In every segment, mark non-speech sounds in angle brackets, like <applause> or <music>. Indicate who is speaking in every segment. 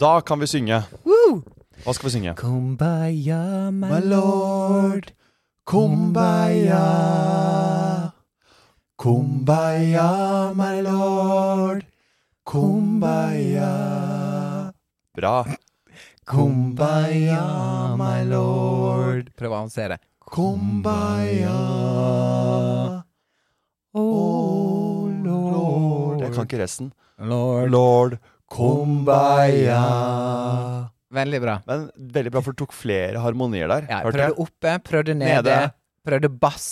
Speaker 1: Da kan vi synge. Hva skal vi synge?
Speaker 2: Kumbaya, my
Speaker 1: lord, kumbaya. Kumbaya, my lord, kumbaya. Bra. Kumbaya, my lord,
Speaker 2: Prøv å avansere.
Speaker 1: kumbaya.
Speaker 2: Oh, lord.
Speaker 1: Jeg kan ikke resten.
Speaker 2: Lord.
Speaker 1: Lord, kumbaya.
Speaker 2: Veldig bra.
Speaker 1: Men veldig bra, for du tok flere harmonier der.
Speaker 2: Ja,
Speaker 1: hørte
Speaker 2: prøvde
Speaker 1: jeg.
Speaker 2: oppe, prøvde nede,
Speaker 1: Nede.
Speaker 2: prøvde bass.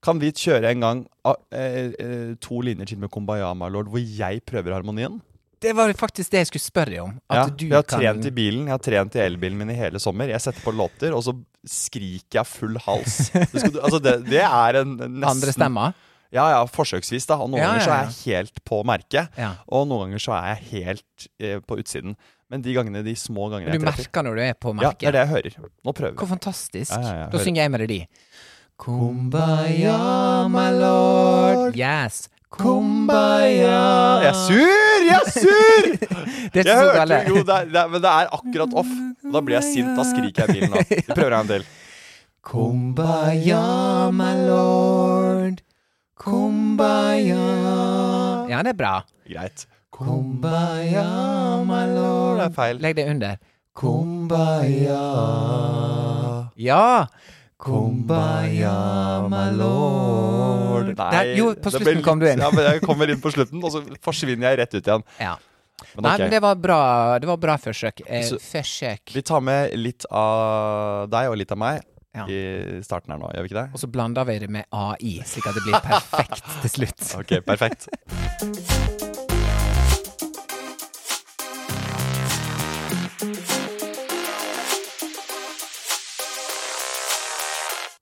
Speaker 1: Kan vi kjøre en gang ah, eh, eh, to linjer til med Kumbaya, my lord, hvor jeg prøver harmonien?
Speaker 2: Det var faktisk det jeg skulle spørre deg om. At
Speaker 1: Ja,
Speaker 2: du
Speaker 1: jeg har
Speaker 2: kan
Speaker 1: trent i bilen, jeg har trent i elbilen min i hele sommer. Jeg setter på låter, og så skriker jeg full hals. Det, skal, du- altså det, det er en en nesten
Speaker 2: andre stemmer.
Speaker 1: Ja, ja, forsøksvis, da. Og noen
Speaker 2: Ja,
Speaker 1: ganger så
Speaker 2: ja,
Speaker 1: er jeg helt på merket,
Speaker 2: Ja.
Speaker 1: og noen ganger så er jeg helt eh, på utsiden. Men de gangene, de små gangene
Speaker 2: Men
Speaker 1: jeg
Speaker 2: du
Speaker 1: treffer
Speaker 2: merker når du er på
Speaker 1: Ja,
Speaker 2: merket.
Speaker 1: det er det jeg hører. Nå prøver
Speaker 2: Hvor
Speaker 1: vi.
Speaker 2: fantastisk.
Speaker 1: Ja, ja, ja,
Speaker 2: da
Speaker 1: hør.
Speaker 2: synger jeg melodi. Kumbaya, my lord. Yes. Kumbaya.
Speaker 1: Jeg er sur! Jeg er sur!
Speaker 2: <laughs>
Speaker 1: Jeg
Speaker 2: Det er ikke så
Speaker 1: hørte jo,
Speaker 2: galt.
Speaker 1: det er, det er, men det er akkurat off. Og Da blir jeg sint. Da skriker jeg i bilen. Da. Vi prøver en til.
Speaker 2: Kumbaya, my lord. Kumbaya. Ja, det er bra.
Speaker 1: Greit.
Speaker 2: Kumbaya, my
Speaker 1: Det
Speaker 2: lord.
Speaker 1: er feil.
Speaker 2: Legg det under.
Speaker 1: Kumbaya.
Speaker 2: Ja!
Speaker 1: Kumbaya, my lord Nei,
Speaker 2: Der- jo, på
Speaker 1: det
Speaker 2: slutten
Speaker 1: ble litt-
Speaker 2: kom du inn.
Speaker 1: Ja, men jeg kommer inn på slutten, og så forsvinner jeg rett ut igjen.
Speaker 2: ja.
Speaker 1: Men
Speaker 2: Nei,
Speaker 1: ok.
Speaker 2: men det var bra, det var bra forsøk. Eh,
Speaker 1: Så-
Speaker 2: forsøk.
Speaker 1: Vi tar med litt av deg og litt av meg
Speaker 2: Ja.
Speaker 1: i starten her nå, gjør vi ikke
Speaker 2: Og
Speaker 1: det?
Speaker 2: så blander vi det med AI, slik at
Speaker 1: <laughs>
Speaker 2: det blir perfekt til slutt.
Speaker 1: Ok, perfekt.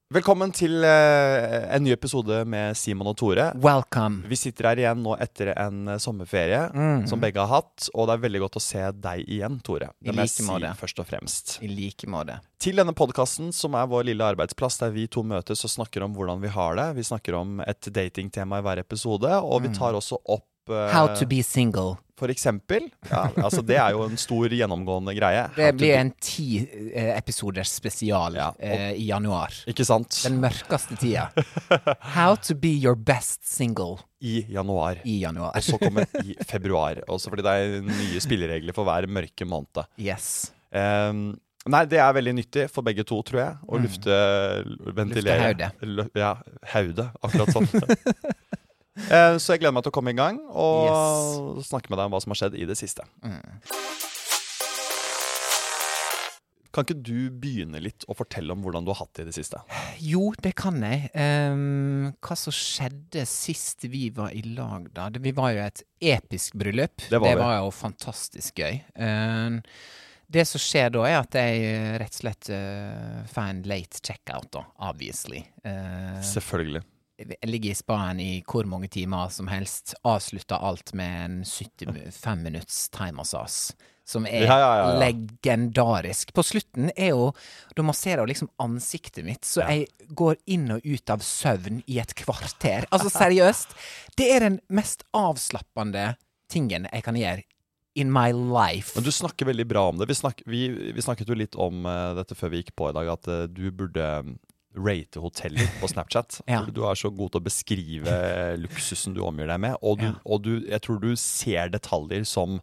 Speaker 1: Velkommen til eh, en ny episode med Simon og Tore.
Speaker 2: Welcome.
Speaker 1: Vi sitter her igjen nå etter en eh, sommerferie som begge har hatt, og det er veldig godt å se deg igjen, Tore.
Speaker 2: Mhm. I
Speaker 1: Det må jeg
Speaker 2: like
Speaker 1: si
Speaker 2: måte.
Speaker 1: først og fremst.
Speaker 2: I like måte.
Speaker 1: Til denne podkasten, som er vår lille arbeidsplass, der vi to møtes og snakker om hvordan vi har det. Vi snakker om et datingtema i hver episode, og vi tar også opp eh,
Speaker 2: Mm. How to be single.
Speaker 1: For eksempel. Ja, altså, det er jo en stor gjennomgående greie. How
Speaker 2: <laughs> Det
Speaker 1: to be-
Speaker 2: blir en ti eh, episoders spesial
Speaker 1: Ja, og-
Speaker 2: eh, i januar.
Speaker 1: Ikke sant?
Speaker 2: Den mørkeste
Speaker 1: <laughs>
Speaker 2: tida. How to be your best single
Speaker 1: I januar.
Speaker 2: i januar.
Speaker 1: Og så kommer i februar. Også fordi det er nye spilleregler for hver mørke måned.
Speaker 2: Yes.
Speaker 1: Ehm, nei, det er veldig nyttig for begge to, tror jeg. Å lufte, eh, ventilere.
Speaker 2: Lufte
Speaker 1: Lu- ja, haudet. Akkurat sånn. Eh, Så jeg gleder meg til å komme i gang og snakke med deg om hva som har skjedd i det siste. Kan ikke du begynne litt å fortelle om hvordan du har hatt det i det siste?
Speaker 2: Jo, det kan jeg. Ehm, hva som skjedde sist vi var i lag, da? Det- Vi var jo i et episk bryllup.
Speaker 1: Det var vi.
Speaker 2: jo fantastisk gøy. Ehm, det som skjer da, er at jeg eh, rett og slett eh, får en late checkout, da. Obviously. Ehm,
Speaker 1: Selvfølgelig.
Speaker 2: jeg ligger i spaen i hvor mange timer som helst, avslutter alt med en 75 minutts thaimassasje. Som er
Speaker 1: Ja, ja, ja, ja.
Speaker 2: legendarisk. På slutten er jo Da masserer hun liksom ansiktet mitt, så jeg går inn og ut av søvn i et kvarter. Altså seriøst. Det er den mest avslappende tingen jeg kan gjøre in my life.
Speaker 1: Men du snakker veldig bra om det. Vi, snak, vi, vi snakket jo litt om eh, dette før vi gikk på i dag, at eh, du burde mm, rate hoteller på Snapchat.
Speaker 2: <laughs> Ja.
Speaker 1: For Du er så god til å beskrive luksusen du omgir deg med, og, du,
Speaker 2: Ja.
Speaker 1: og du, jeg tror du ser detaljer som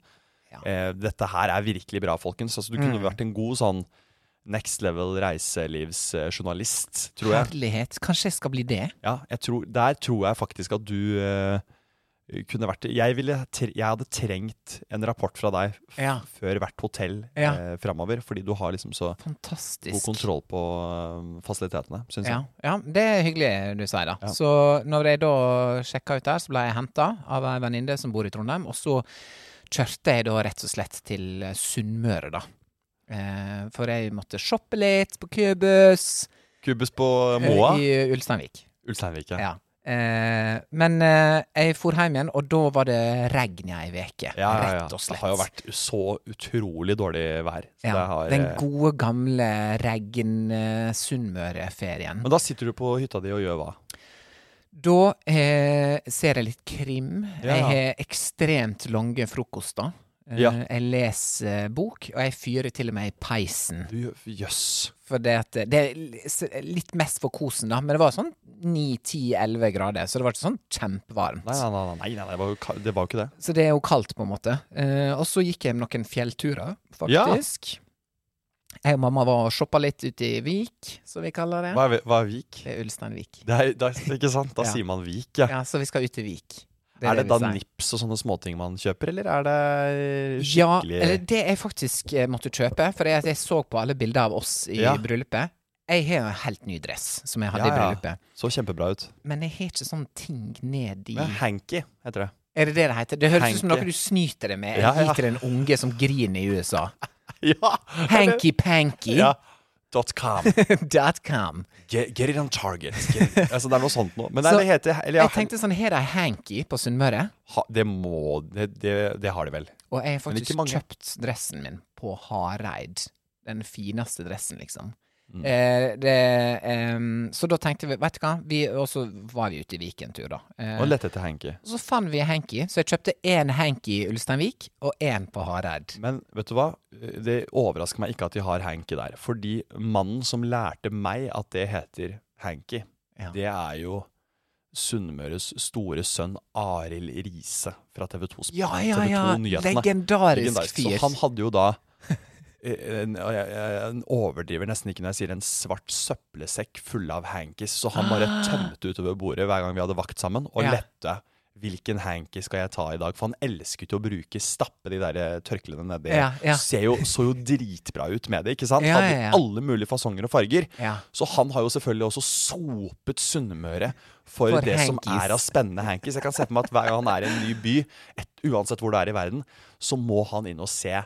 Speaker 2: Ja. Mm.
Speaker 1: eh, Dette her er virkelig bra, folkens. Altså, du kunne vært en god sånn next level reiselivsjournalist, tror jeg.
Speaker 2: Herlighet. Kanskje jeg skal bli det?
Speaker 1: Ja, jeg tror, der tror jeg faktisk at du eh, kunne vært jeg, ville, tre- jeg hadde trengt en rapport fra deg f
Speaker 2: Ja.
Speaker 1: før hvert hotell
Speaker 2: Ja.
Speaker 1: eh, framover, fordi du har liksom så
Speaker 2: Fantastisk.
Speaker 1: god kontroll på eh, fasilitetene, syns
Speaker 2: Ja,
Speaker 1: jeg.
Speaker 2: ja, det er hyggelig du sier da.
Speaker 1: Liksom. Ja.
Speaker 2: Så når jeg da sjekka ut der, så ble jeg henta av ei venninne som bor i Trondheim. Og så kjørte jeg da rett og slett til eh, Sunnmøre, da. Eh, for jeg måtte shoppe litt på Købus
Speaker 1: Kubus på
Speaker 2: eh,
Speaker 1: Moa,
Speaker 2: i Ulsteinvik.
Speaker 1: Ulsteinvik.
Speaker 2: Ja. Eh, men eh, jeg for hjem igjen, og da var det regn i ei uke.
Speaker 1: Ja, ja, ja.
Speaker 2: Rett og
Speaker 1: Det
Speaker 2: slett.
Speaker 1: har jo vært så utrolig dårlig vær. Så
Speaker 2: ja,
Speaker 1: det har,
Speaker 2: Den
Speaker 1: eh,
Speaker 2: gode, gamle eh, regn-Sunnmøre-ferien.
Speaker 1: men da sitter du på hytta di og gjør hva?
Speaker 2: Da eh, ser jeg litt krim.
Speaker 1: Ja.
Speaker 2: Jeg har ekstremt lange frokoster. Eh,
Speaker 1: Ja.
Speaker 2: Jeg leser eh, bok, og jeg fyrer til og med i peisen.
Speaker 1: Du gjør- Jøss.
Speaker 2: For det, at, eh, det er li- s- litt mest for kosen, da. Men det var sånn 9-10-11 grader, så det var ikke sånn kjempevarmt.
Speaker 1: Nei, nei, nei, nei, nei, nei det, var jo, ka- det var jo ikke det.
Speaker 2: Så det er jo kaldt, på en måte. Eh, og så gikk jeg noen fjellturer, faktisk. Jeg og mamma var og shoppa litt ute i Vik, som vi kaller det.
Speaker 1: Hva er, vi- hva er Vik?
Speaker 2: Det er Ulsteinvik.
Speaker 1: Det er, det er, ikke sant? Da
Speaker 2: Ja.
Speaker 1: sier man Vik, ja.
Speaker 2: Ja, så vi skal ut i Vik.
Speaker 1: er det,
Speaker 2: vi
Speaker 1: da
Speaker 2: sier.
Speaker 1: nips og sånne småting man kjøper, eller er det
Speaker 2: Ja,
Speaker 1: skikkelig
Speaker 2: eller det jeg faktisk eh, måtte kjøpe, for jeg, jeg så på alle bilder av oss i
Speaker 1: Ja.
Speaker 2: bryllupet. Jeg har jo en helt ny dress som jeg hadde
Speaker 1: Ja,
Speaker 2: i
Speaker 1: ja.
Speaker 2: bryllupet.
Speaker 1: Så kjempebra ut.
Speaker 2: Men jeg har ikke sånn ting ned i
Speaker 1: Men Hanky heter det. <laughs>
Speaker 2: Er det det det heter? Det høres ut som
Speaker 1: Hanky.
Speaker 2: noe du snyter deg med.
Speaker 1: Ja, ja.
Speaker 2: Jeg gir til en unge som griner i USA.
Speaker 1: Ja!
Speaker 2: Hanky-panky
Speaker 1: ja. Dot com.
Speaker 2: <laughs> dot com.
Speaker 1: Get, get it on target. Get it. Altså, det er noe sånt noe. Men nei,
Speaker 2: Så,
Speaker 1: det heter eller, ja,
Speaker 2: Jeg tenkte sånn, her er ei hanky på Sunnmøre,
Speaker 1: ha, Det må det, det, det har de vel.
Speaker 2: og jeg har
Speaker 1: Men ikke
Speaker 2: faktisk
Speaker 1: mange.
Speaker 2: kjøpt dressen min på Hareid. Den fineste dressen, liksom.
Speaker 1: Mm.
Speaker 2: Eh, det, ehm, så da tenkte vi, vet du hva, vi, og så var vi ute i Vik en tur, da. Eh,
Speaker 1: Og lett etter Hanky.
Speaker 2: og så fant vi hanky, så jeg kjøpte én hanky i Ulsteinvik og én på Hareid.
Speaker 1: Men vet du hva? Det overrasker meg ikke at de har Hanky der. Fordi mannen som lærte meg at det heter Hanky,
Speaker 2: Ja.
Speaker 1: det er jo Sunnmøres store sønn Arild Riise fra TV 2
Speaker 2: Ja, ja, ja.
Speaker 1: Nyhetene.
Speaker 2: Legendarisk fyr.
Speaker 1: Så han hadde jo da Eh, en, og jeg, jeg jeg overdriver nesten ikke når jeg sier en svart søppelsekk full av hankies. Så han bare tømte utover bordet hver gang vi hadde vakt sammen, og
Speaker 2: Ah. Ja.
Speaker 1: lette. Hvilken hanky skal jeg ta i dag? For han elsket jo å bruke stappe de der eh, tørklene nedi.
Speaker 2: Ja, ja.
Speaker 1: Ser jo, så jo dritbra ut med det, ikke sant?
Speaker 2: Ja,
Speaker 1: hadde
Speaker 2: ja, ja.
Speaker 1: alle mulige fasonger og farger.
Speaker 2: Ja.
Speaker 1: Så han har jo selvfølgelig også sopet Sunnmøre for,
Speaker 2: For
Speaker 1: det som
Speaker 2: hankies.
Speaker 1: er av spennende hankies. Jeg kan se for meg at hver gang han er i en ny by, et, uansett hvor det er i verden, så må han inn og se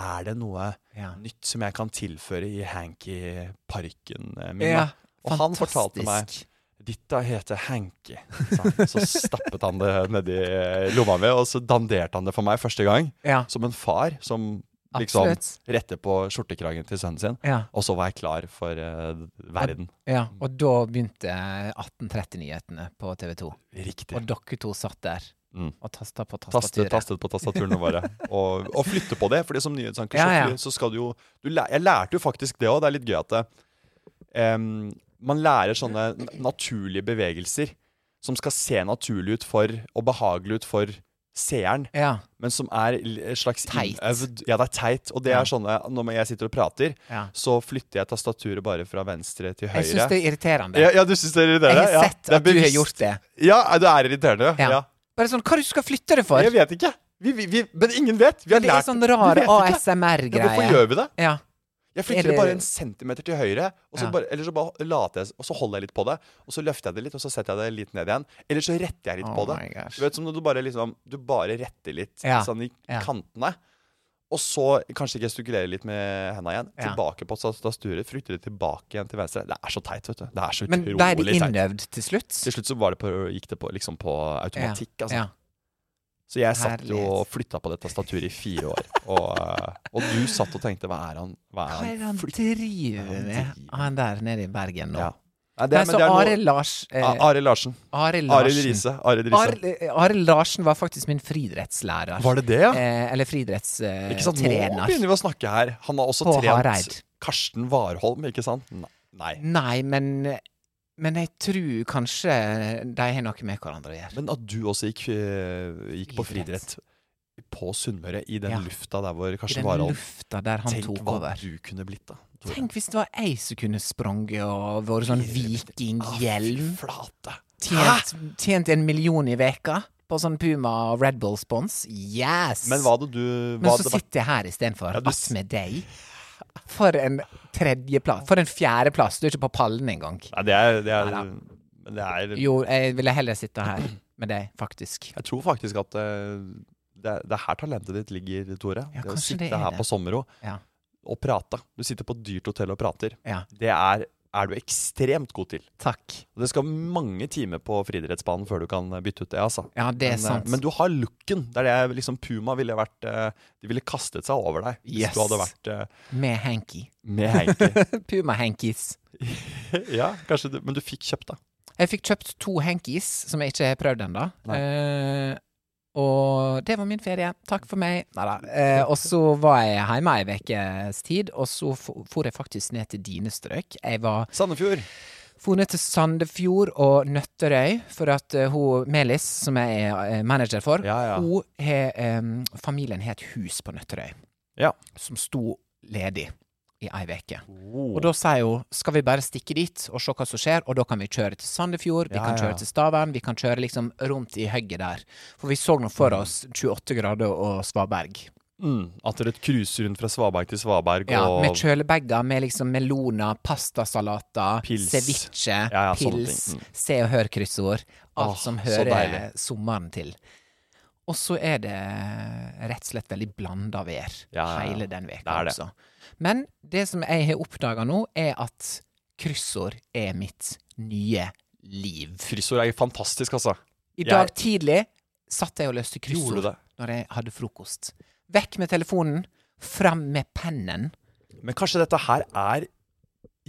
Speaker 1: er det noe
Speaker 2: Ja.
Speaker 1: nytt som jeg kan tilføre i hanky-parken eh, min.
Speaker 2: Ja,
Speaker 1: da? og han fortalte meg
Speaker 2: fantastisk.
Speaker 1: Dette heter hanky. sa han. Så stappet han det nedi eh, lomma mi, og så danderte han det for meg første gang.
Speaker 2: Ja.
Speaker 1: Som en far som liksom
Speaker 2: Absolutt.
Speaker 1: retter på skjortekragen til sønnen sin.
Speaker 2: Ja.
Speaker 1: Og så var jeg klar for eh, verden.
Speaker 2: Ja,
Speaker 1: Mm.
Speaker 2: og da begynte 1830-nyhetene på TV 2.
Speaker 1: Riktig.
Speaker 2: Og dere to satt der
Speaker 1: Mm.
Speaker 2: og tasta på
Speaker 1: Tastet,
Speaker 2: tastaturet.
Speaker 1: tastet på tastaturene våre. Og, og flytte på det, Fordi som nyhetsanker så,
Speaker 2: Ja, ja.
Speaker 1: fly- så skal du jo du læ- Jeg lærte jo faktisk det òg. Det er litt gøy at det, em, man lærer sånne n- naturlige bevegelser som skal se naturlig ut for og behagelig ut for seeren,
Speaker 2: Ja,
Speaker 1: men som er l- et slags
Speaker 2: Teit.
Speaker 1: innøvd Ja, det er teit. Og det
Speaker 2: Ja.
Speaker 1: er sånne Når jeg sitter og prater,
Speaker 2: Ja.
Speaker 1: så flytter jeg tastaturet bare fra venstre til høyre.
Speaker 2: jeg syns det er irriterende.
Speaker 1: ja, ja, du syns det er
Speaker 2: jeg
Speaker 1: irriterende?
Speaker 2: har
Speaker 1: Ja,
Speaker 2: sett
Speaker 1: det er
Speaker 2: at du har
Speaker 1: bevisst.
Speaker 2: gjort det.
Speaker 1: Ja, det er irriterende.
Speaker 2: Ja.
Speaker 1: ja.
Speaker 2: Bare sånn, hva er det du skal flytte det for?
Speaker 1: Jeg vet ikke. Vi, vi, vi, men ingen vet. Vi har
Speaker 2: det er
Speaker 1: lært
Speaker 2: sånn
Speaker 1: Vi
Speaker 2: rar
Speaker 1: vet ikke. Ja,
Speaker 2: ASMR-greie.
Speaker 1: hvorfor gjør vi det?
Speaker 2: Ja.
Speaker 1: Jeg
Speaker 2: Er
Speaker 1: flytter
Speaker 2: det-
Speaker 1: det bare en centimeter til høyre, og så
Speaker 2: Ja.
Speaker 1: bare, eller så bare later jeg, og så holder jeg litt på det. Og så løfter jeg det litt, og så setter jeg det litt ned igjen. Eller så retter jeg litt
Speaker 2: Oh
Speaker 1: på det.
Speaker 2: my gosh.
Speaker 1: Du vet som når du bare liksom Du bare retter litt
Speaker 2: Ja.
Speaker 1: sånn i
Speaker 2: Ja.
Speaker 1: kantene. Og så kanskje gestikulere litt med henda igjen.
Speaker 2: Ja.
Speaker 1: Tilbake på tastaturet. Flytte det tilbake igjen til venstre. Det er så teit, vet du. Det er så
Speaker 2: Men da er det
Speaker 1: utrolig teit.
Speaker 2: innøvd til slutt.
Speaker 1: Til slutt så var det på, gikk det på, liksom på automatikk, altså.
Speaker 2: Ja.
Speaker 1: Så jeg satt jo
Speaker 2: Herlighet.
Speaker 1: og flytta på det tastaturet i fire år. Og, eh, og du satt og tenkte hva er han Hva
Speaker 2: Hva er
Speaker 1: er
Speaker 2: det
Speaker 1: han
Speaker 2: han
Speaker 1: flytt-
Speaker 2: driver
Speaker 1: Han
Speaker 2: med,
Speaker 1: driver.
Speaker 2: han der nede i Bergen nå?
Speaker 1: Ja. Nei, det,
Speaker 2: Nei,
Speaker 1: er- men
Speaker 2: så
Speaker 1: det er noe-
Speaker 2: Arild Lars eh,
Speaker 1: Ah, Arild Larsen.
Speaker 2: Arild
Speaker 1: Arild
Speaker 2: Larsen.
Speaker 1: Riise. Arild Riise.
Speaker 2: Arild- eh, Arild Larsen var faktisk min friidrettslærer.
Speaker 1: Var det det, ja?
Speaker 2: Eh, eller
Speaker 1: Ikke sant? Nå
Speaker 2: friidrettstrener.
Speaker 1: begynner vi å snakke her. Han har også
Speaker 2: På
Speaker 1: trent
Speaker 2: Hareid.
Speaker 1: Karsten Warholm, ikke sant? Ne- Nei.
Speaker 2: Nei, men Men jeg tror kanskje de har noe med hverandre å gjøre.
Speaker 1: Men at du også gikk, eh, gikk på
Speaker 2: Friidrett.
Speaker 1: friidrett på Sunnmøre, i den
Speaker 2: Ja.
Speaker 1: lufta der hvor
Speaker 2: I
Speaker 1: Karsten
Speaker 2: den
Speaker 1: Warholm
Speaker 2: lufta der han
Speaker 1: Tenk
Speaker 2: tok
Speaker 1: hva
Speaker 2: over.
Speaker 1: du kunne blitt, da. Tore.
Speaker 2: Tenk hvis det var jeg som kunne sprunget og vært sånn
Speaker 1: Friidrett. Ah, fy
Speaker 2: vikinghjelm.
Speaker 1: flate. Hæ?
Speaker 2: Tjent, tjent en million i veka på sånn Puma Red Bull-spons. Yes!
Speaker 1: Men hva hadde du hva
Speaker 2: Men så
Speaker 1: hadde vært-
Speaker 2: sitter jeg her istedenfor.
Speaker 1: Ja, du
Speaker 2: Att med deg. For en tredjeplass. For en fjerdeplass. Du er ikke på pallen engang.
Speaker 1: Nei, det er, det er, men det er
Speaker 2: Jo, jeg ville heller sitte her med deg, faktisk.
Speaker 1: Jeg tror faktisk at eh, det er, det er her talentet ditt ligger, Tore.
Speaker 2: Ja,
Speaker 1: det å
Speaker 2: kanskje
Speaker 1: sitte
Speaker 2: det er
Speaker 1: her
Speaker 2: det.
Speaker 1: på sommero
Speaker 2: Ja.
Speaker 1: og prate. Du sitter på et dyrt hotell og prater.
Speaker 2: Ja.
Speaker 1: Det er, er du ekstremt god til.
Speaker 2: Takk.
Speaker 1: Og Det skal mange timer på friidrettsbanen før du kan bytte ut det, altså.
Speaker 2: Ja, det er
Speaker 1: men, eh,
Speaker 2: sant.
Speaker 1: Men du har looken. Det er det liksom Puma ville vært eh, De ville kastet seg over deg hvis
Speaker 2: Yes.
Speaker 1: du hadde vært eh,
Speaker 2: Med hanky.
Speaker 1: med Hanky.
Speaker 2: Puma-hankies.
Speaker 1: <laughs> ja, kanskje du, men du fikk kjøpt, da.
Speaker 2: Jeg fikk kjøpt to hankies som jeg ikke har prøvd ennå.
Speaker 1: Nei.
Speaker 2: Eh, og det var min ferie. Takk for meg. Neida. Eh, og så var jeg hjemme ei ukes tid, og så fo- for jeg faktisk ned til dine strøk. Jeg var
Speaker 1: Sandefjord.
Speaker 2: For ned til Sandefjord og Nøtterøy, for at eh, hun, Melis, som jeg er eh, manager for,
Speaker 1: Ja, ja.
Speaker 2: hun har em, Familien har et hus på Nøtterøy
Speaker 1: Ja.
Speaker 2: som sto ledig i ei uke.
Speaker 1: Oh.
Speaker 2: Og da sier hun skal vi bare stikke dit og se hva som skjer, og da kan vi kjøre til Sandefjord, vi
Speaker 1: Ja,
Speaker 2: kan
Speaker 1: ja.
Speaker 2: kjøre til Stavern, vi kan kjøre liksom rundt i høgget der. For vi så nå for oss 28 grader og Svaberg.
Speaker 1: Mm, at dere cruiser rundt fra Svaberg til Svaberg
Speaker 2: Ja,
Speaker 1: og
Speaker 2: med kjølebager med liksom meloner, pastasalater,
Speaker 1: Pils.
Speaker 2: ceviche,
Speaker 1: Ja, ja, sånne
Speaker 2: pils,
Speaker 1: ting. Mm.
Speaker 2: se og hør-kryssord. Alt
Speaker 1: Åh,
Speaker 2: som
Speaker 1: så
Speaker 2: hører
Speaker 1: deilig.
Speaker 2: sommeren til. Og så er det rett og slett veldig blanda vær
Speaker 1: Ja, ja, ja.
Speaker 2: hele den
Speaker 1: Det
Speaker 2: veka
Speaker 1: er det.
Speaker 2: også. Men det som jeg har oppdaga nå, er at kryssord er mitt nye liv.
Speaker 1: Kryssord er fantastisk, altså.
Speaker 2: I
Speaker 1: Jeg-
Speaker 2: dag tidlig satt jeg og løste
Speaker 1: Gjorde du
Speaker 2: kryssord
Speaker 1: det?
Speaker 2: når jeg hadde frokost. Vekk med telefonen, fram med pennen.
Speaker 1: Men kanskje dette her er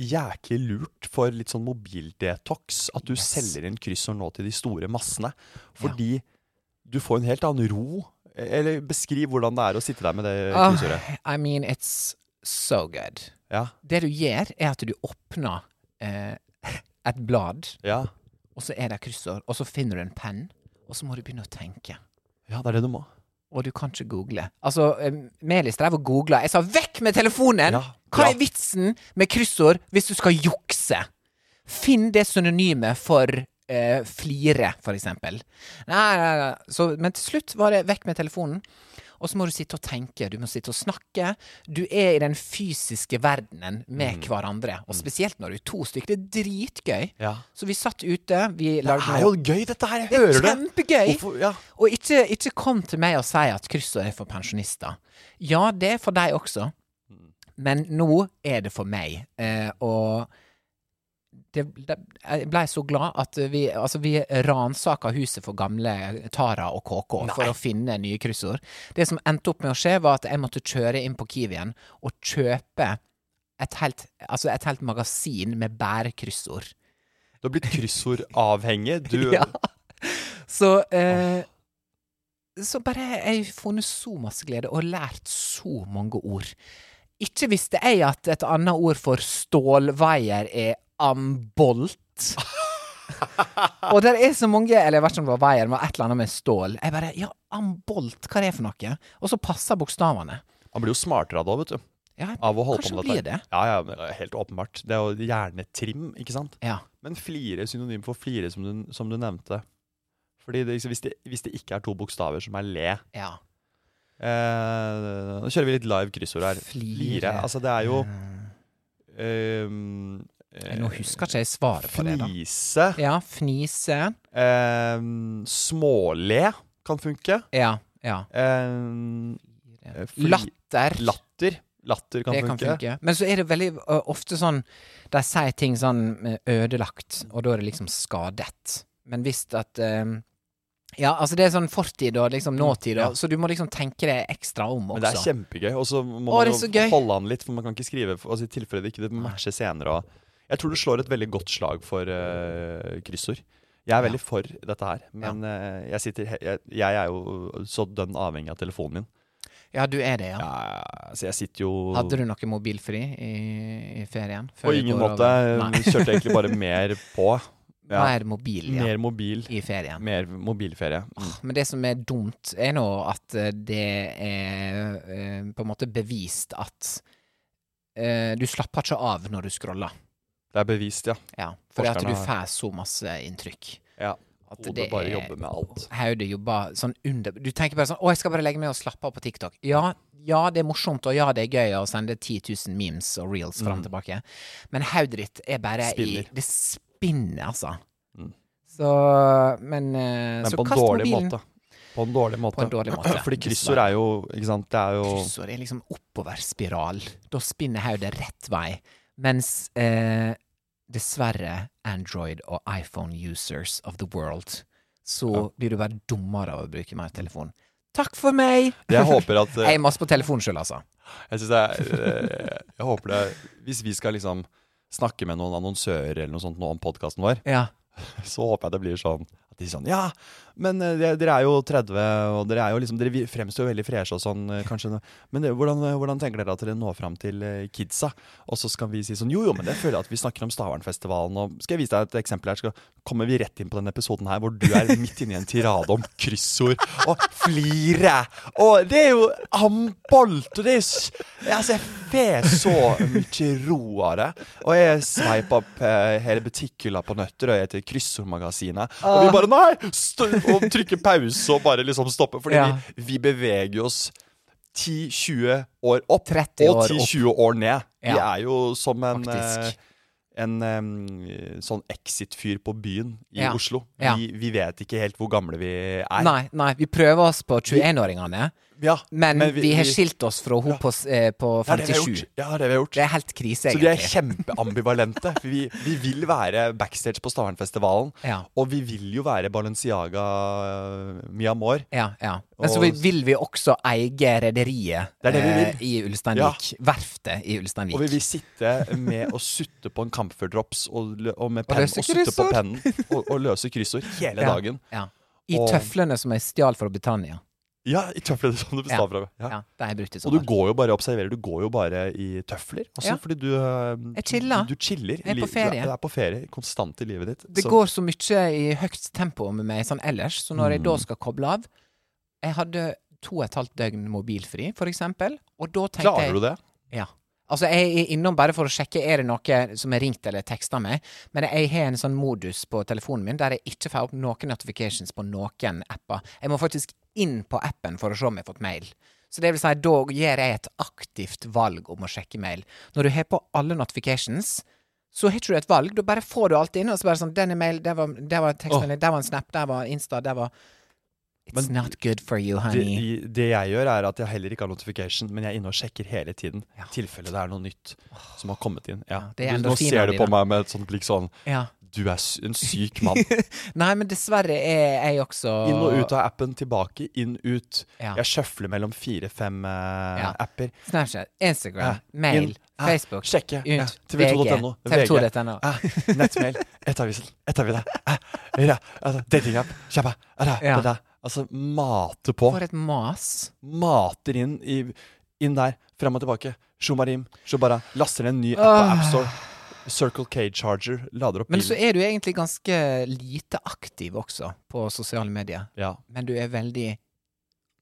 Speaker 1: jæklig lurt for litt sånn mobildetox. At du
Speaker 2: Yes.
Speaker 1: selger inn kryssord nå til de store massene. Fordi du får en helt annen ro. Eller beskriv hvordan det er å sitte der med det
Speaker 2: Ah,
Speaker 1: kryssordet.
Speaker 2: I mean, it's so good.
Speaker 1: Ja,
Speaker 2: Det du gjør, er at du åpner eh, et blad,
Speaker 1: ja.
Speaker 2: og så er det kryssord, og så finner du en penn, og så må du begynne å tenke.
Speaker 1: ja, det er det du må.
Speaker 2: Og du kan ikke google. Altså, eh, Melis drev og googla. Jeg sa 'vekk med telefonen'!
Speaker 1: Ja,
Speaker 2: Hva
Speaker 1: bra.
Speaker 2: er vitsen med kryssord hvis du skal jukse? Finn det synonymet for eh, flire, for eksempel. Nei, nei, nei. Så, men til slutt var det vekk med telefonen. Og så må du sitte og tenke, du må sitte og snakke. Du er i den fysiske verdenen med hverandre. Og spesielt når du er to stykker. Det er dritgøy.
Speaker 1: Mm. Ja.
Speaker 2: Så vi satt ute, vi
Speaker 1: Det
Speaker 2: lagde
Speaker 1: er jo gøy, dette her! Jeg
Speaker 2: Det
Speaker 1: <laughs>
Speaker 2: er
Speaker 1: hører det!
Speaker 2: kjempegøy.
Speaker 1: Hvorfor- Ja.
Speaker 2: og ikke, ikke kom til meg og si at kryssord er for pensjonister. Ja, det er for deg også, men nå er det for meg. Eh, og det, det, jeg blei så glad at vi, altså vi ransaka huset for gamle Tara og KK for å finne nye kryssord. Det som endte opp med å skje, var at jeg måtte kjøre inn på Kiwien og kjøpe et helt, altså et helt magasin med bærekryssord.
Speaker 1: Du har blitt kryssordavhengig. <laughs> Du
Speaker 2: Ja. Så eh, Så bare Jeg har funnet så masse glede og lært så mange ord. Ikke visste jeg at et annet ord for stålveier er ambolt.
Speaker 1: <laughs>
Speaker 2: og der er så mange Eller jeg vet ikke om det var veier, men et eller annet med stål. Jeg bare Ja, ambolt, hva er det for noe? Og så passer bokstavene.
Speaker 1: Han blir jo smartere av det, vet du.
Speaker 2: Ja,
Speaker 1: Av å holde
Speaker 2: kanskje
Speaker 1: på med
Speaker 2: han
Speaker 1: dette.
Speaker 2: blir det.
Speaker 1: Ja, ja, men det er helt åpenbart. Det er jo hjernetrim, ikke sant?
Speaker 2: Ja.
Speaker 1: Men flire er synonym for flire, som du, som du nevnte. Fordi det, hvis, det, hvis det ikke er to bokstaver som er le
Speaker 2: ja.
Speaker 1: eh, Nå kjører vi litt live kryssord her.
Speaker 2: Flire.
Speaker 1: Altså, det er jo eh,
Speaker 2: Eh, Nå husker ikke jeg svaret på det, da.
Speaker 1: Fnise.
Speaker 2: Ja, fnise.
Speaker 1: ehm, småle kan funke.
Speaker 2: Ja. ja.
Speaker 1: Ehm, eh, fli-
Speaker 2: Latter.
Speaker 1: Latter. Latter kan,
Speaker 2: det kan
Speaker 1: funke.
Speaker 2: funke. Men så er det veldig ø, ofte sånn De sier ting sånn ø, ødelagt, og da er det liksom skadet. Men hvis at ø, Ja, altså det er sånn fortid og liksom nåtid, og, så du må liksom tenke deg ekstra om
Speaker 1: Mm, Men det er
Speaker 2: også.
Speaker 1: kjempegøy. Og så må
Speaker 2: Å,
Speaker 1: man
Speaker 2: det er så gøy.
Speaker 1: jo holde an litt, for man kan ikke skrive for- altså, i tilfelle det ikke det matcher senere. Og jeg tror du slår et veldig godt slag for eh, kryssord. Jeg er veldig for dette her, men eh, jeg, sitter, he- jeg, jeg er jo så dønn avhengig av telefonen min.
Speaker 2: Ja, du er det, ja.
Speaker 1: Eh, Så jeg sitter jo
Speaker 2: Hadde du noe mobilfri i, i ferien?
Speaker 1: På
Speaker 2: Før vi
Speaker 1: ingen
Speaker 2: går over?
Speaker 1: måte. <laughs>
Speaker 2: Nei.
Speaker 1: Kjørte egentlig bare mer på. Ja.
Speaker 2: <laughs> Mer mobil ja,
Speaker 1: Mer mobil.
Speaker 2: i Ah. ferien.
Speaker 1: Mer mobilferie. Mm.
Speaker 2: Men det som er dumt, er nå at eh, det er eh, på en måte bevist at eh, du slapper ikke av når du scroller.
Speaker 1: Det er bevist, ja.
Speaker 2: Ja, fordi at
Speaker 1: Forskerne
Speaker 2: du
Speaker 1: har-
Speaker 2: får så masse inntrykk.
Speaker 1: ja.
Speaker 2: At
Speaker 1: Hodet
Speaker 2: det
Speaker 1: bare
Speaker 2: er-
Speaker 1: jobber med alt.
Speaker 2: Hodet jobber sånn under Du tenker bare sånn Å, jeg skal bare legge meg og slappe av på TikTok. Ja, ja, det er morsomt, og ja, det er gøy å sende 10 000 memes og reels fram og tilbake. Men hodet ditt er bare
Speaker 1: Mm. Spinner. Mm.
Speaker 2: i Det spinner, altså. Så Men,
Speaker 1: Men
Speaker 2: eh, så
Speaker 1: på en
Speaker 2: kast
Speaker 1: dårlig
Speaker 2: mobilen.
Speaker 1: måte. På en dårlig måte.
Speaker 2: På en dårlig måte,
Speaker 1: <clears throat> Fordi kryssord er jo Ikke sant, det er jo
Speaker 2: Kryssord er liksom oppoverspiral. Da spinner hodet rett vei. Mens eh, dessverre Android og iPhone users of the world, så blir du bare dummere av å bruke mer telefon. Takk for meg! <laughs>
Speaker 1: Jeg håper at eh,
Speaker 2: Jeg er masse på telefon sjøl, altså.
Speaker 1: Jeg synes det er eh, Jeg håper det Hvis vi skal liksom snakke med noen annonsører eller noe sånt nå om podkasten vår,
Speaker 2: Ja.
Speaker 1: så håper jeg det blir sånn at de sånn Ja, men eh, dere- dere er jo 30, og dere er jo liksom Dere vi- fremstår jo veldig freshe og sånn, eh, kanskje. Men det, hvordan, eh, hvordan tenker dere at dere når fram til eh, kidsa? Og så skal vi si sånn Jo, jo, men det føler jeg at vi snakker om Stavernfestivalen, og skal jeg vise deg et eksempel her, skal kommer vi rett inn på denne episoden her hvor du er midt inne i en tirade om kryssord og flire. Og det er jo ambolt, og det er s- Altså, jeg får så mye ro av det. Og jeg sveip opp eh, hele butikkhylla på Nøtter og jeg til Kryssordmagasinet. Og
Speaker 2: Ah.
Speaker 1: vi bare nei! Stå, og trykker pause og bare liksom stopper. Fordi
Speaker 2: Ja.
Speaker 1: vi, vi beveger oss 10-20 år opp
Speaker 2: 30
Speaker 1: og
Speaker 2: år
Speaker 1: 10-20 år ned. Vi
Speaker 2: Ja.
Speaker 1: er jo som en
Speaker 2: Faktisk.
Speaker 1: eh, en em, sånn exit-fyr på byen i
Speaker 2: Ja.
Speaker 1: Oslo. Vi,
Speaker 2: Ja.
Speaker 1: vi vet ikke helt hvor gamle vi er.
Speaker 2: Nei, nei, vi prøver oss på 21-åringene,
Speaker 1: Ja,
Speaker 2: men, vi, har skilt oss fra hun på, s- eh, på
Speaker 1: Ja, det har vi
Speaker 2: 57.
Speaker 1: gjort. Ja, det har vi gjort.
Speaker 2: Det er helt krise,
Speaker 1: Så vi er
Speaker 2: egentlig.
Speaker 1: kjempeambivalente. Vi, vi vil være backstage på Stavernfestivalen.
Speaker 2: Ja.
Speaker 1: Og vi vil jo være Balenciaga eh, Mia Moore.
Speaker 2: Ja, ja. Men så
Speaker 1: Og-
Speaker 2: vi- vil vi også eie rederiet
Speaker 1: Det er det vi vil.
Speaker 2: eh, i Ulsteinvik. Verftet i Ulsteinvik.
Speaker 1: Og vi vil sitte med og sutte på en camphordrops og, lø- og med penn og
Speaker 2: løse
Speaker 1: sutte på
Speaker 2: kryssord.
Speaker 1: pennen og, og løse kryssord hele
Speaker 2: Ja,
Speaker 1: dagen.
Speaker 2: Ja. I
Speaker 1: Og-
Speaker 2: tøflene som jeg stjal fra Britannia.
Speaker 1: Ja, i tøfler som du består fra.
Speaker 2: Ja, det har jeg brukt i
Speaker 1: Og du
Speaker 2: sommer.
Speaker 1: går jo bare observerer, du går jo bare i tøfler. Også,
Speaker 2: Ja.
Speaker 1: Fordi du, eh,
Speaker 2: Jeg chiller.
Speaker 1: du chiller. i
Speaker 2: Jeg er på
Speaker 1: livet-
Speaker 2: ferie.
Speaker 1: Du er, du er på ferie, konstant i livet ditt.
Speaker 2: Det
Speaker 1: Så-
Speaker 2: går så mye i høyt tempo med meg sånn ellers, så når jeg da
Speaker 1: Mm.
Speaker 2: skal koble av Jeg hadde to og et halvt døgn mobilfri, for eksempel, og da tenkte
Speaker 1: Klarer
Speaker 2: jeg
Speaker 1: du det?
Speaker 2: Ja. Altså, jeg er innom bare for å sjekke er det noe som er ringt eller teksta meg, men jeg har en sånn modus på telefonen min der jeg ikke får opp noen notifications på noen apper. Jeg må faktisk inn på appen for å se om jeg har fått mail. Så det vil si, da gjør jeg et aktivt valg om å sjekke mail. Når du har på alle notifications, så har ikke du et valg. Da bare får du alt inn, og så bare sånn Den er mail, der var, der var tekstmelding, der var en snap, der var Insta, der var It's
Speaker 1: Men
Speaker 2: not good for you,
Speaker 1: Det,
Speaker 2: honey.
Speaker 1: i- det jeg gjør, er at jeg heller ikke har notification, men jeg er inne og sjekker hele tiden. I
Speaker 2: Ja.
Speaker 1: tilfelle det er noe nytt som har kommet inn. Ja.
Speaker 2: det er
Speaker 1: Du- Nå
Speaker 2: endorfinene
Speaker 1: ser du på
Speaker 2: dine.
Speaker 1: meg med et sånt blikk sånn
Speaker 2: Ja.
Speaker 1: Du er sy- en syk
Speaker 2: <laughs>
Speaker 1: mann.
Speaker 2: Nei, men dessverre er jeg også
Speaker 1: Inn og ut av appen, tilbake, inn, ut.
Speaker 2: Ja.
Speaker 1: Jeg sjøfler mellom fire-fem eh,
Speaker 2: Ja.
Speaker 1: apper.
Speaker 2: Snapchat, Instagram,
Speaker 1: Ja.
Speaker 2: mail,
Speaker 1: Inn. Ja.
Speaker 2: Facebook,
Speaker 1: Sjekke.
Speaker 2: ut,
Speaker 1: Ja.
Speaker 2: VG,
Speaker 1: TV2.no.
Speaker 2: TV2.no.
Speaker 1: Ja. Eh, Nettmail. Nettavisen. Nettavisen. Ja. Ja. Altså, Datingapp. eh, Kjappa. Ja.
Speaker 2: Ja.
Speaker 1: Ja. Altså mate på.
Speaker 2: For et mas.
Speaker 1: Mater inn, i, inn der. Fram og tilbake. Shomarim. Shobara. Laster ned en ny app på AppStore. Circle K Charger. Lader opp
Speaker 2: Ah. Men så
Speaker 1: bilen.
Speaker 2: er du egentlig ganske lite aktiv også på sosiale medier.
Speaker 1: Ja.
Speaker 2: Men du er veldig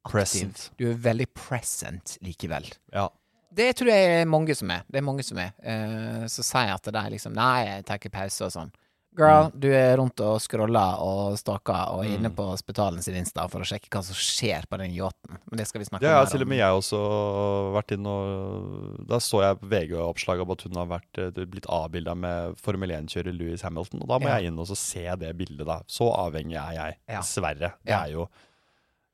Speaker 2: aktiv.
Speaker 1: Present.
Speaker 2: Du er veldig present likevel.
Speaker 1: ja.
Speaker 2: Det tror jeg er mange som er. Det er mange som er. Eh, så sier jeg at det er liksom Nei, jeg tar ikke pause og sånn. Girl,
Speaker 1: Mm.
Speaker 2: du er rundt og scroller og stalker og er inne på Spetalen sin Insta for å sjekke hva som skjer på den yachten. Men det skal vi snakke
Speaker 1: Det har
Speaker 2: mer
Speaker 1: til og
Speaker 2: om.
Speaker 1: med jeg også vært inn og Da så jeg VG-oppslag om at hun har vært, eh, blitt avbilda med Formel 1-kjører Louis Hamilton. Og da må
Speaker 2: Ja.
Speaker 1: jeg inn og så se det bildet, da. Så avhengig er jeg,
Speaker 2: Ja.
Speaker 1: dessverre. Det
Speaker 2: Ja.
Speaker 1: er jo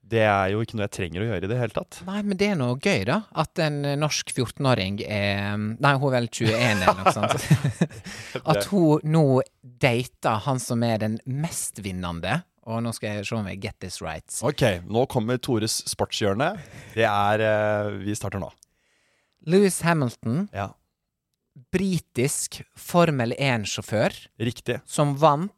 Speaker 1: det er jo ikke noe jeg trenger å gjøre i det hele tatt.
Speaker 2: Nei, men det er noe gøy, da. At en eh, norsk 14-åring er mm, Nei, hun er vel 21 eller noe sånt. At hun nå dater han som er den mestvinnende. Og nå skal jeg se om jeg get this right.
Speaker 1: Ok, nå kommer Tores sportshjørne. Det er eh, Vi starter nå.
Speaker 2: Louis Hamilton,
Speaker 1: Ja.
Speaker 2: britisk Formel 1-sjåfør,
Speaker 1: Riktig.
Speaker 2: som vant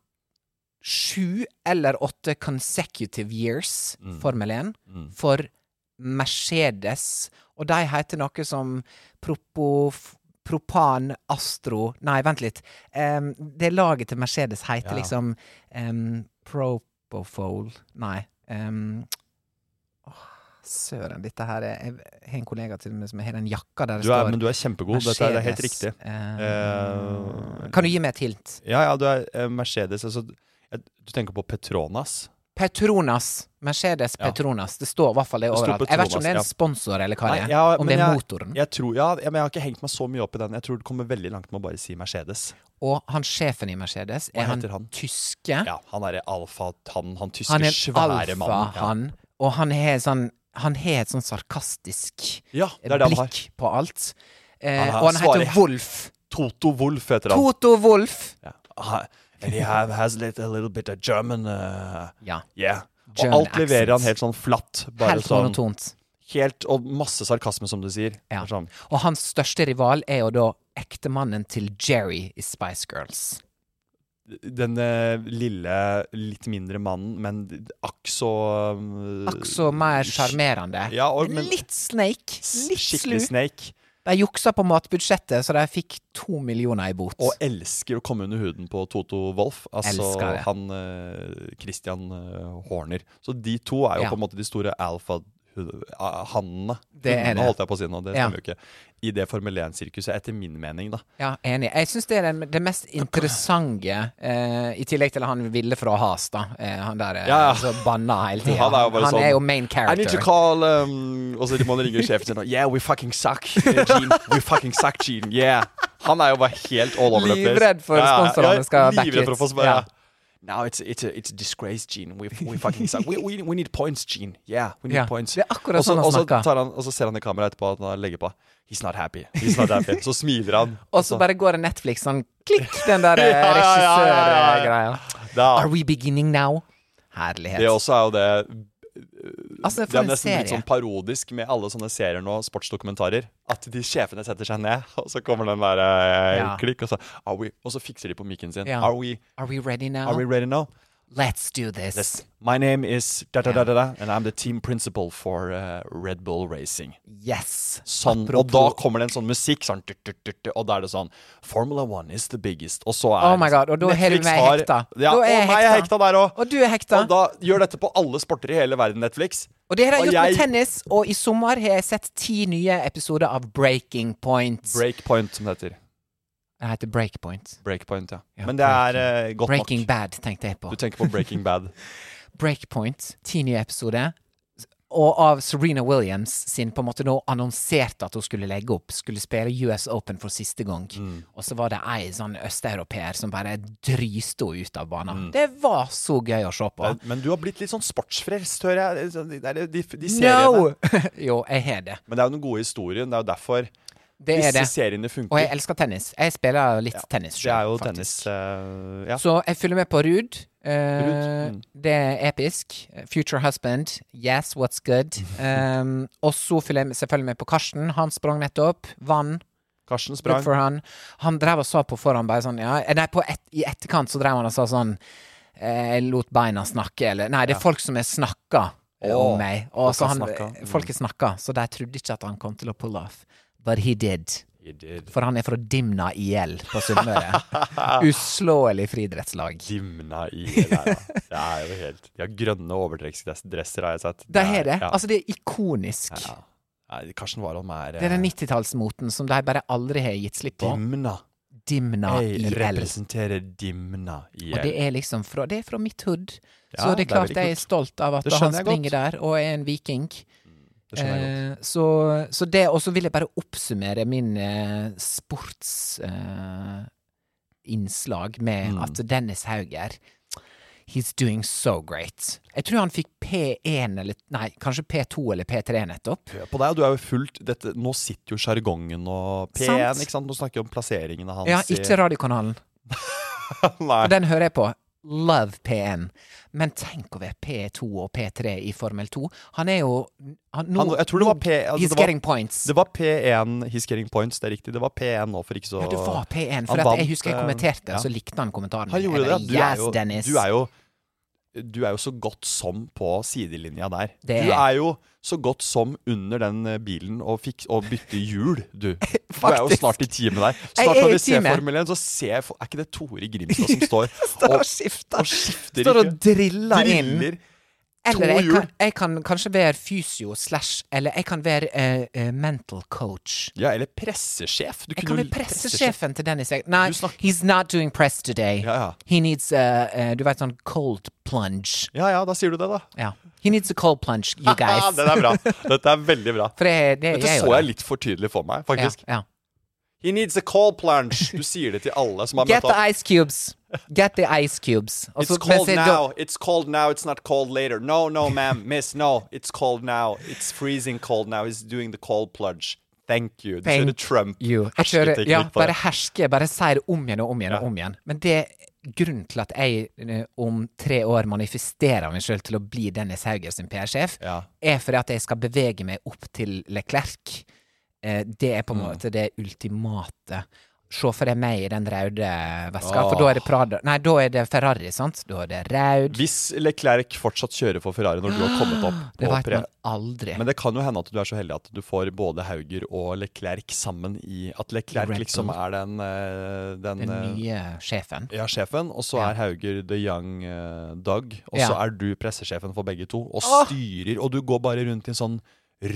Speaker 2: sju eller åtte consecutive years
Speaker 1: Mm.
Speaker 2: Formel 1 for Mercedes. Og de heter noe som propof, Propan Astro Nei, vent litt. Em, det laget til Mercedes heter
Speaker 1: Ja.
Speaker 2: liksom um, Propofol Nei. em, åh, Søren, dette her er Jeg har en kollega til meg som har den jakka der det
Speaker 1: Du er,
Speaker 2: står
Speaker 1: men du er kjempegod. Dette er, det er helt
Speaker 2: Mercedes,
Speaker 1: riktig.
Speaker 2: em,
Speaker 1: Eh,
Speaker 2: kan du gi meg et hint?
Speaker 1: Ja, ja, du er eh, Mercedes. Altså, Jeg- Du tenker på Petronas?
Speaker 2: Petronas. Mercedes
Speaker 1: Ja.
Speaker 2: Petronas. Det står i hvert fall det
Speaker 1: Det står
Speaker 2: overalt. Jeg vet ikke om det
Speaker 1: Petronas,
Speaker 2: er en
Speaker 1: ja.
Speaker 2: sponsor eller hva det
Speaker 1: Nei,
Speaker 2: er.
Speaker 1: ja,
Speaker 2: om
Speaker 1: men
Speaker 2: det er
Speaker 1: jeg-
Speaker 2: motoren.
Speaker 1: Jeg tror, ja, ja, men jeg har ikke hengt meg så mye opp i den. Jeg tror det kommer veldig langt med å bare si Mercedes.
Speaker 2: Og han sjefen i Mercedes,
Speaker 1: Hva
Speaker 2: er han,
Speaker 1: heter han?
Speaker 2: tyske?
Speaker 1: Ja, han derre alfa, han, han tyske,
Speaker 2: han er en
Speaker 1: svære
Speaker 2: alfa,
Speaker 1: mannen. Ja.
Speaker 2: han. Og han har sånn han har et sånn sarkastisk
Speaker 1: Ja, det er det han har.
Speaker 2: blikk på alt. Eh,
Speaker 1: Han har-
Speaker 2: og han heter
Speaker 1: svarer-
Speaker 2: Wolf.
Speaker 1: Toto Wolff heter han.
Speaker 2: Toto Wolf.
Speaker 1: Ja. Ah, And he have, has lit a little bit of German uh,
Speaker 2: Ja.
Speaker 1: Yeah.
Speaker 2: German
Speaker 1: og alt leverer han helt
Speaker 2: accent.
Speaker 1: sånn flatt. Bare
Speaker 2: Helt
Speaker 1: sånn,
Speaker 2: monotont.
Speaker 1: Helt, og masse sarkasme, som du sier.
Speaker 2: Ja.
Speaker 1: Sånn.
Speaker 2: Og hans største rival er jo da ektemannen til Jerry i Spice Girls.
Speaker 1: Den eh, lille, litt mindre mannen, men akk så eh,
Speaker 2: Akk så mer sjarmerende.
Speaker 1: Ja, og- men-
Speaker 2: Litt snake. Litt slu.
Speaker 1: Skikkelig snake.
Speaker 2: De juksa på matbudsjettet, så de fikk to millioner i bot.
Speaker 1: Og elsker å komme under huden på Toto Wolff. Altså
Speaker 2: Elsker det.
Speaker 1: han eh, Christian eh, Horner. Så de to er jo
Speaker 2: Ja.
Speaker 1: på en måte de store alfa-hannene.
Speaker 2: Det er det.
Speaker 1: holdt jeg på å si nå, det
Speaker 2: Ja.
Speaker 1: stemmer jo ikke. I det Formel 1-sirkuset, etter min mening, da.
Speaker 2: Ja, enig. Jeg syns det er den, det mest interessante, eh, i tillegg til han ville fra Has, da. Eh, han der eh,
Speaker 1: Ja, ja.
Speaker 2: som banna hele
Speaker 1: <laughs>
Speaker 2: tida.
Speaker 1: Han er jo
Speaker 2: Han,
Speaker 1: bare sånn,
Speaker 2: er jo main
Speaker 1: I need to
Speaker 2: character.
Speaker 1: call um, Og så må han ringe sjefen sin og Yeah, we fucking suck, eh, Gene. We fucking suck, Gene. Yeah. Han er jo bare helt all over the place.
Speaker 2: Livredd for sponsorene skal backe
Speaker 1: livredd for å
Speaker 2: ut.
Speaker 1: få sp-
Speaker 2: Ja.
Speaker 1: ja. Now it's, it's, a, it's a disgrace, Gene. We, we fucking suck. We, we, we need points, Gene. Yeah, we need
Speaker 2: Ja,
Speaker 1: points.
Speaker 2: det er akkurat
Speaker 1: Og så-
Speaker 2: sånn han
Speaker 1: og så
Speaker 2: snakker.
Speaker 1: tar han- Og så ser han i kameraet etterpå at han legger på. He's not happy. He's not happy. Så smiler han.
Speaker 2: <laughs> Og så bare går det Netflix sånn klikk, den der
Speaker 1: <laughs>
Speaker 2: eh,
Speaker 1: Ja, ja, ja, ja, ja.
Speaker 2: regissørgreia.
Speaker 1: Da.
Speaker 2: Are we beginning now? Herlighet.
Speaker 1: Det også er jo det
Speaker 2: altså,
Speaker 1: Det
Speaker 2: for
Speaker 1: er
Speaker 2: en
Speaker 1: nesten litt
Speaker 2: serie.
Speaker 1: sånn parodisk med alle sånne serier nå, sportsdokumentarer, at de sjefene setter seg ned, <laughs> og så kommer den der eh,
Speaker 2: Ja.
Speaker 1: klikk, og så, are we, og så fikser de på mikken sin.
Speaker 2: Ja.
Speaker 1: Are, we,
Speaker 2: Are we ready now?
Speaker 1: are we ready now?
Speaker 2: Let's do this.
Speaker 1: Yes. My name is da, da, da, da, da, and I'm the team principal for eh, Red Bull Racing.
Speaker 2: Yes.
Speaker 1: Sånn, og da kommer det en sånn musikk, sånn, tut, tut, tut, tut, og da er det sånn Formula One is the biggest, og så er
Speaker 2: Oh my god, og da har du
Speaker 1: Netflix
Speaker 2: meg
Speaker 1: har-
Speaker 2: hekta.
Speaker 1: Ja,
Speaker 2: Da
Speaker 1: og
Speaker 2: jeg
Speaker 1: meg er hekta der òg.
Speaker 2: Og du er hekta.
Speaker 1: Og da gjør dette på alle sporter i hele verden, Netflix.
Speaker 2: Og det har jeg
Speaker 1: Og
Speaker 2: gjort
Speaker 1: jeg-
Speaker 2: med tennis, og i sommer har jeg sett ti nye episoder av Breaking Points.
Speaker 1: Breakpoint, som det heter.
Speaker 2: det heter Breakpoint.
Speaker 1: Breakpoint, ja.
Speaker 2: Ja,
Speaker 1: Men det er eh, godt
Speaker 2: Breaking
Speaker 1: nok.
Speaker 2: Bad tenkte jeg på.
Speaker 1: Du tenker på Breaking
Speaker 2: <laughs>
Speaker 1: Bad.
Speaker 2: Breakpoint, ti nye episoder. Og av Serena Williams sin på en måte nå annonserte at hun skulle legge opp, skulle spille US Open for siste gang.
Speaker 1: Mm.
Speaker 2: Og så var det ei sånn østeuropeer som bare dryste henne ut av
Speaker 1: Mm.
Speaker 2: banen. Det var så gøy å se på.
Speaker 1: Men du har blitt litt sånn sportsfrelst, hører jeg. Sånn, De, de, de, de seriene.
Speaker 2: No! <laughs> jo, jeg har det.
Speaker 1: Men det er jo den gode historien. Det er jo derfor
Speaker 2: Det
Speaker 1: disse
Speaker 2: er det.
Speaker 1: seriene
Speaker 2: Og jeg
Speaker 1: funker.
Speaker 2: elsker tennis. Jeg spiller litt tennis
Speaker 1: Det er
Speaker 2: selv,
Speaker 1: jo
Speaker 2: faktisk.
Speaker 1: tennis eh, Ja.
Speaker 2: Så jeg følger med på Ruud. Eh,
Speaker 1: Ruud, mm.
Speaker 2: Det er episk. Future husband. Yes,
Speaker 1: <laughs>
Speaker 2: what's good? Um, og så følger jeg med- selvfølgelig med på Karsten. Han sprang nettopp. Vann.
Speaker 1: Karsten
Speaker 2: Good
Speaker 1: sprang.
Speaker 2: for han. Han drev og sa på forhånd bare sånn ja, eh, Nei, på et, i etterkant så drev han og sa sånn eh, Jeg lot beina snakke, eller Nei, det er folk som har snakka eh,
Speaker 1: Åh,
Speaker 2: om meg. Og
Speaker 1: folk
Speaker 2: så
Speaker 1: har
Speaker 2: han, eh,
Speaker 1: snakka. Mm.
Speaker 2: folk har snakka, så de trodde ikke at han kom til å pull off. But he did. For han er fra Dimna IL på Sunnmøre. Uslåelig friidrettslag.
Speaker 1: Dimna i det der, da. Det er jo helt De har grønne overdresser, har jeg sett.
Speaker 2: De har det.
Speaker 1: ja.
Speaker 2: Altså, det er ikonisk.
Speaker 1: Nei, Karsten Warholm er
Speaker 2: Det er den
Speaker 1: eh,
Speaker 2: 90-tallsmoten som de bare aldri har gitt slipp på.
Speaker 1: Dimna.
Speaker 2: Dimna
Speaker 1: Jeg
Speaker 2: IL.
Speaker 1: representerer Dimna i
Speaker 2: Og det
Speaker 1: L.
Speaker 2: er liksom fra, det er fra mitt hood.
Speaker 1: Ja,
Speaker 2: så det
Speaker 1: det
Speaker 2: er
Speaker 1: er
Speaker 2: klart
Speaker 1: veldig
Speaker 2: jeg er stolt av at
Speaker 1: Det skjønner jeg
Speaker 2: han springer der og er en viking.
Speaker 1: Det skjønner jeg godt.
Speaker 2: Eh, så, så det, og så vil jeg bare oppsummere min eh, sportsinnslag innslag med
Speaker 1: Mm.
Speaker 2: at Dennis Hauger He's doing so great. Jeg tror han fikk P1 eller Nei, kanskje P2 eller P3 nettopp.
Speaker 1: Hør på deg, og du er jo fullt dette, Nå sitter jo sjargongen og P1,
Speaker 2: Sant.
Speaker 1: ikke sant? Nå snakker vi om plasseringene hans.
Speaker 2: Ja, ikke radiokanalen.
Speaker 1: <laughs>
Speaker 2: Og den hører jeg på. Love P1. Men tenk å være P2 og P3 i Formel 2. Han er jo han, nå,
Speaker 1: Han, jeg tror det var
Speaker 2: nå-
Speaker 1: P... altså, det
Speaker 2: He's
Speaker 1: var-
Speaker 2: getting points.
Speaker 1: Det var P1 He's getting points, det er riktig. Det var P1 nå for ikke så
Speaker 2: ja, det var P1.
Speaker 1: Han
Speaker 2: For at
Speaker 1: vant,
Speaker 2: jeg husker jeg
Speaker 1: eh,
Speaker 2: kommenterte,
Speaker 1: ja.
Speaker 2: så likte han kommentaren.
Speaker 1: Han
Speaker 2: min.
Speaker 1: gjorde det.
Speaker 2: Jeg bare,
Speaker 1: Du
Speaker 2: yes,
Speaker 1: er, jo,
Speaker 2: Dennis.
Speaker 1: du, er jo, du er jo så godt som på sidelinja der. Du
Speaker 2: er-
Speaker 1: er jo så godt som under den eh, bilen og, fikk, og bytte hjul,
Speaker 2: <laughs>
Speaker 1: du. Du er jo
Speaker 2: Faktisk.
Speaker 1: snart i teamet der.
Speaker 2: Jeg
Speaker 1: Snart
Speaker 2: er
Speaker 1: når
Speaker 2: i
Speaker 1: vi ser
Speaker 2: teamet.
Speaker 1: Formel 1, så ser jeg for- Er ikke det
Speaker 2: <laughs>
Speaker 1: Tore Grimstad som står
Speaker 2: Står og
Speaker 1: og
Speaker 2: skifter.
Speaker 1: og skifter
Speaker 2: Står og
Speaker 1: ikke?
Speaker 2: driller inn.
Speaker 1: Driller.
Speaker 2: Eller
Speaker 1: To
Speaker 2: jeg kan,
Speaker 1: hjul.
Speaker 2: jeg kan kanskje være fysio slash Eller jeg kan være eh, eh, mental coach.
Speaker 1: Ja, eller pressesjef. Du
Speaker 2: Jeg
Speaker 1: kunne
Speaker 2: kan
Speaker 1: jo-
Speaker 2: bli pressesjefen til Dennis. Jeg. Nei,
Speaker 1: Du snakker-
Speaker 2: he's not doing press today.
Speaker 1: Ja, ja.
Speaker 2: He needs a, eh, Du vet sånn cold plunge.
Speaker 1: Ja ja, da sier du det, da.
Speaker 2: Ja. He needs a cold plunge,
Speaker 1: <laughs>
Speaker 2: you guys.
Speaker 1: Den er bra. Dette er veldig bra.
Speaker 2: For det, det,
Speaker 1: Dette
Speaker 2: <laughs> jeg
Speaker 1: så jeg litt for tydelig for meg, faktisk.
Speaker 2: Ja, ja.
Speaker 1: He needs a cold plunge. Du sier det til alle som har
Speaker 2: Get
Speaker 1: møtt opp.
Speaker 2: the ice cubes. Get the ice cubes. Og så-
Speaker 1: It's
Speaker 2: men
Speaker 1: cold
Speaker 2: se, da-
Speaker 1: now. It's cold now. It's not cold later. No, no, ma'am. Miss, no. It's cold now. It's freezing cold now. He's doing the cold plunge. Thank you. Du kjører
Speaker 2: Thank
Speaker 1: Trump.
Speaker 2: you. Jeg kjører,
Speaker 1: hersketeknikk
Speaker 2: ja,
Speaker 1: på
Speaker 2: bare
Speaker 1: det.
Speaker 2: herske, bare si det om igjen og om igjen og om igjen. Men det er grunnen til at jeg eh, om tre år manifesterer meg sjøl til å bli Dennis Hauger sin PR-sjef,
Speaker 1: Ja.
Speaker 2: er fordi at jeg skal bevege meg opp til Leclerc. Eh, Det er på
Speaker 1: Mm.
Speaker 2: en måte det ultimate. Se for deg meg i den røde veska, for da er det Prada Nei, da er det Ferrari, sant? Da er det rød.
Speaker 1: Hvis Leclerc fortsatt kjører for Ferrari når du har kommet opp
Speaker 2: <gasps> Det
Speaker 1: på
Speaker 2: veit
Speaker 1: pre...
Speaker 2: man aldri.
Speaker 1: Men det kan jo hende at du er så heldig at du får både Hauger og Leclerc sammen i At Leclerc
Speaker 2: Red Bull.
Speaker 1: liksom er den, eh, den,
Speaker 2: Den
Speaker 1: eh,
Speaker 2: nye sjefen.
Speaker 1: ja, sjefen, og så er Hauger the young eh, Doug, og så
Speaker 2: Ja.
Speaker 1: er du pressesjefen for begge to, og styrer, og du går bare rundt i en sånn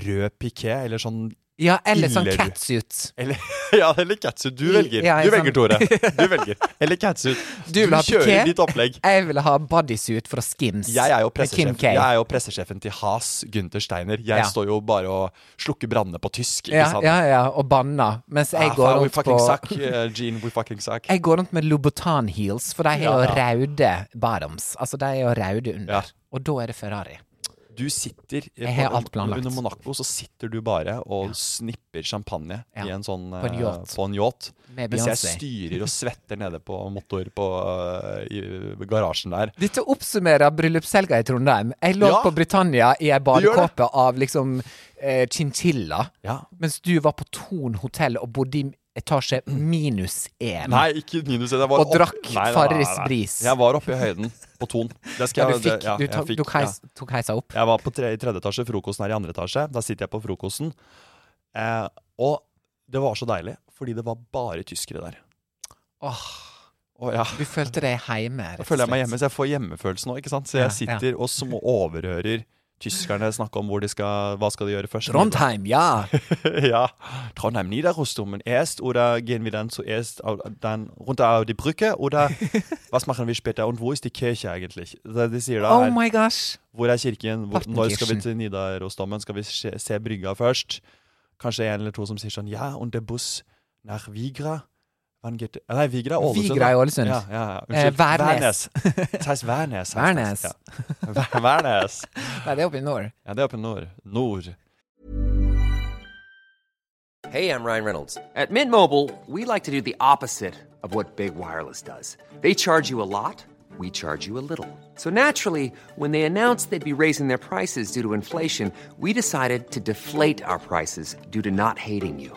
Speaker 1: rød piké, eller sånn
Speaker 2: Ja, eller sånn
Speaker 1: Iller.
Speaker 2: catsuit.
Speaker 1: eller, <laughs> ja, eller catsuit. Du velger.
Speaker 2: Ja,
Speaker 1: du
Speaker 2: jeg
Speaker 1: velger, Tore.
Speaker 2: <laughs>
Speaker 1: Du velger. Eller catsuit.
Speaker 2: Du vil ha
Speaker 1: kjører
Speaker 2: piké.
Speaker 1: ditt opplegg.
Speaker 2: Jeg vil ha bodysuit fra Skims.
Speaker 1: Jeg er jo
Speaker 2: Med Kim
Speaker 1: pressesjefen,
Speaker 2: K.
Speaker 1: jeg er jo pressesjefen til Has Gunther Steiner. Jeg
Speaker 2: Ja.
Speaker 1: står jo bare og slukker brannene på tysk. Ikke
Speaker 2: ja,
Speaker 1: sant?
Speaker 2: ja, ja, og banna. Mens jeg
Speaker 1: Ah,
Speaker 2: går
Speaker 1: faen, we
Speaker 2: rundt
Speaker 1: fucking suck,
Speaker 2: på
Speaker 1: eh, Gene, we fucking suck.
Speaker 2: Jeg går rundt med Lobotan heels, for de har jo røde bottoms. Altså, de er jo røde under.
Speaker 1: Ja.
Speaker 2: Og da er det Ferrari.
Speaker 1: Du sitter eh,
Speaker 2: Jeg har
Speaker 1: på-
Speaker 2: alt planlagt.
Speaker 1: Under Monaco så sitter du bare og snipper champagne
Speaker 2: Ja.
Speaker 1: i en sånn eh,
Speaker 2: På en yacht.
Speaker 1: På en yacht.
Speaker 2: Med
Speaker 1: Mens jeg
Speaker 2: Beyoncé.
Speaker 1: styrer og svetter nede på motor på eh, i garasjen der.
Speaker 2: Dette oppsummerer bryllupshelga i Trondheim. Jeg lå
Speaker 1: Ja.
Speaker 2: på Britannia i ei
Speaker 1: gjør det.
Speaker 2: badekåpe av liksom eh, chinchilla,
Speaker 1: Ja.
Speaker 2: mens du var på Thon hotell og bodde i etasje minus én.
Speaker 1: Nei, ikke minus det var
Speaker 2: Og
Speaker 1: opp-
Speaker 2: drakk
Speaker 1: Nei, nei, nei,
Speaker 2: Farris
Speaker 1: nei.
Speaker 2: Bris.
Speaker 1: Jeg var oppe i høyden, på Ton. Det skal
Speaker 2: Ja, du
Speaker 1: jeg- det-
Speaker 2: fikk,
Speaker 1: ja,
Speaker 2: du
Speaker 1: jeg
Speaker 2: tok,
Speaker 1: fikk-
Speaker 2: tok, heis, tok heisa opp.
Speaker 1: Jeg var på tre, i tredje etasje, frokosten er i andre etasje. Da sitter jeg på frokosten. Eh, og det var så deilig, fordi det var bare tyskere der.
Speaker 2: Åh,
Speaker 1: Og ja,
Speaker 2: du følte deg hjemme. rett
Speaker 1: da
Speaker 2: og
Speaker 1: føler jeg meg
Speaker 2: slett.
Speaker 1: hjemme, så jeg får hjemmefølelse nå. ikke sant? Så
Speaker 2: Ja,
Speaker 1: jeg sitter og som overhører tyskerne snakke om hvor de skal, hva skal de gjøre først.
Speaker 2: Trondheim, ja!
Speaker 1: <laughs> ja. Trondheim Niederrüstung erst, oder gehen wir dann zuerst au- dann runter auf die Brücke,
Speaker 2: <laughs>
Speaker 1: oder was machen wir später, und wo ist die Kirche eigentlich? Så De sier da
Speaker 2: Oh
Speaker 1: her-
Speaker 2: my gosh!
Speaker 1: Hvor er kirken? Hvor, når skal vi
Speaker 2: Partenkirchen.
Speaker 1: til Nidarosdomen? Skal vi se, se brygga først? Kanskje en eller to som sier sånn Ja, und der Bus nach Vigra? Wann geht Ah, Nei, Vigra er Ålesund.
Speaker 2: Vigra er
Speaker 1: da.
Speaker 2: Ålesund.
Speaker 1: Ja, ja, ja.
Speaker 2: Eh,
Speaker 1: Unnskyld.
Speaker 2: Værnes.
Speaker 1: Værnes. Det heißt Værnes. heißt
Speaker 2: Værnes.
Speaker 1: das, Ja. <laughs> Vær- Værnes.
Speaker 2: <laughs> Nei, det er oppe i nord.
Speaker 1: Ja, det er oppe i nord. Nord.
Speaker 3: Hey, I'm Ryan Reynolds. At Mint Mobile, we like to do the opposite of what Big Wireless does. They charge you a lot, we charge you a little. So naturally, when they announced they'd be raising their prices due to inflation, we decided to deflate our prices due to not hating you.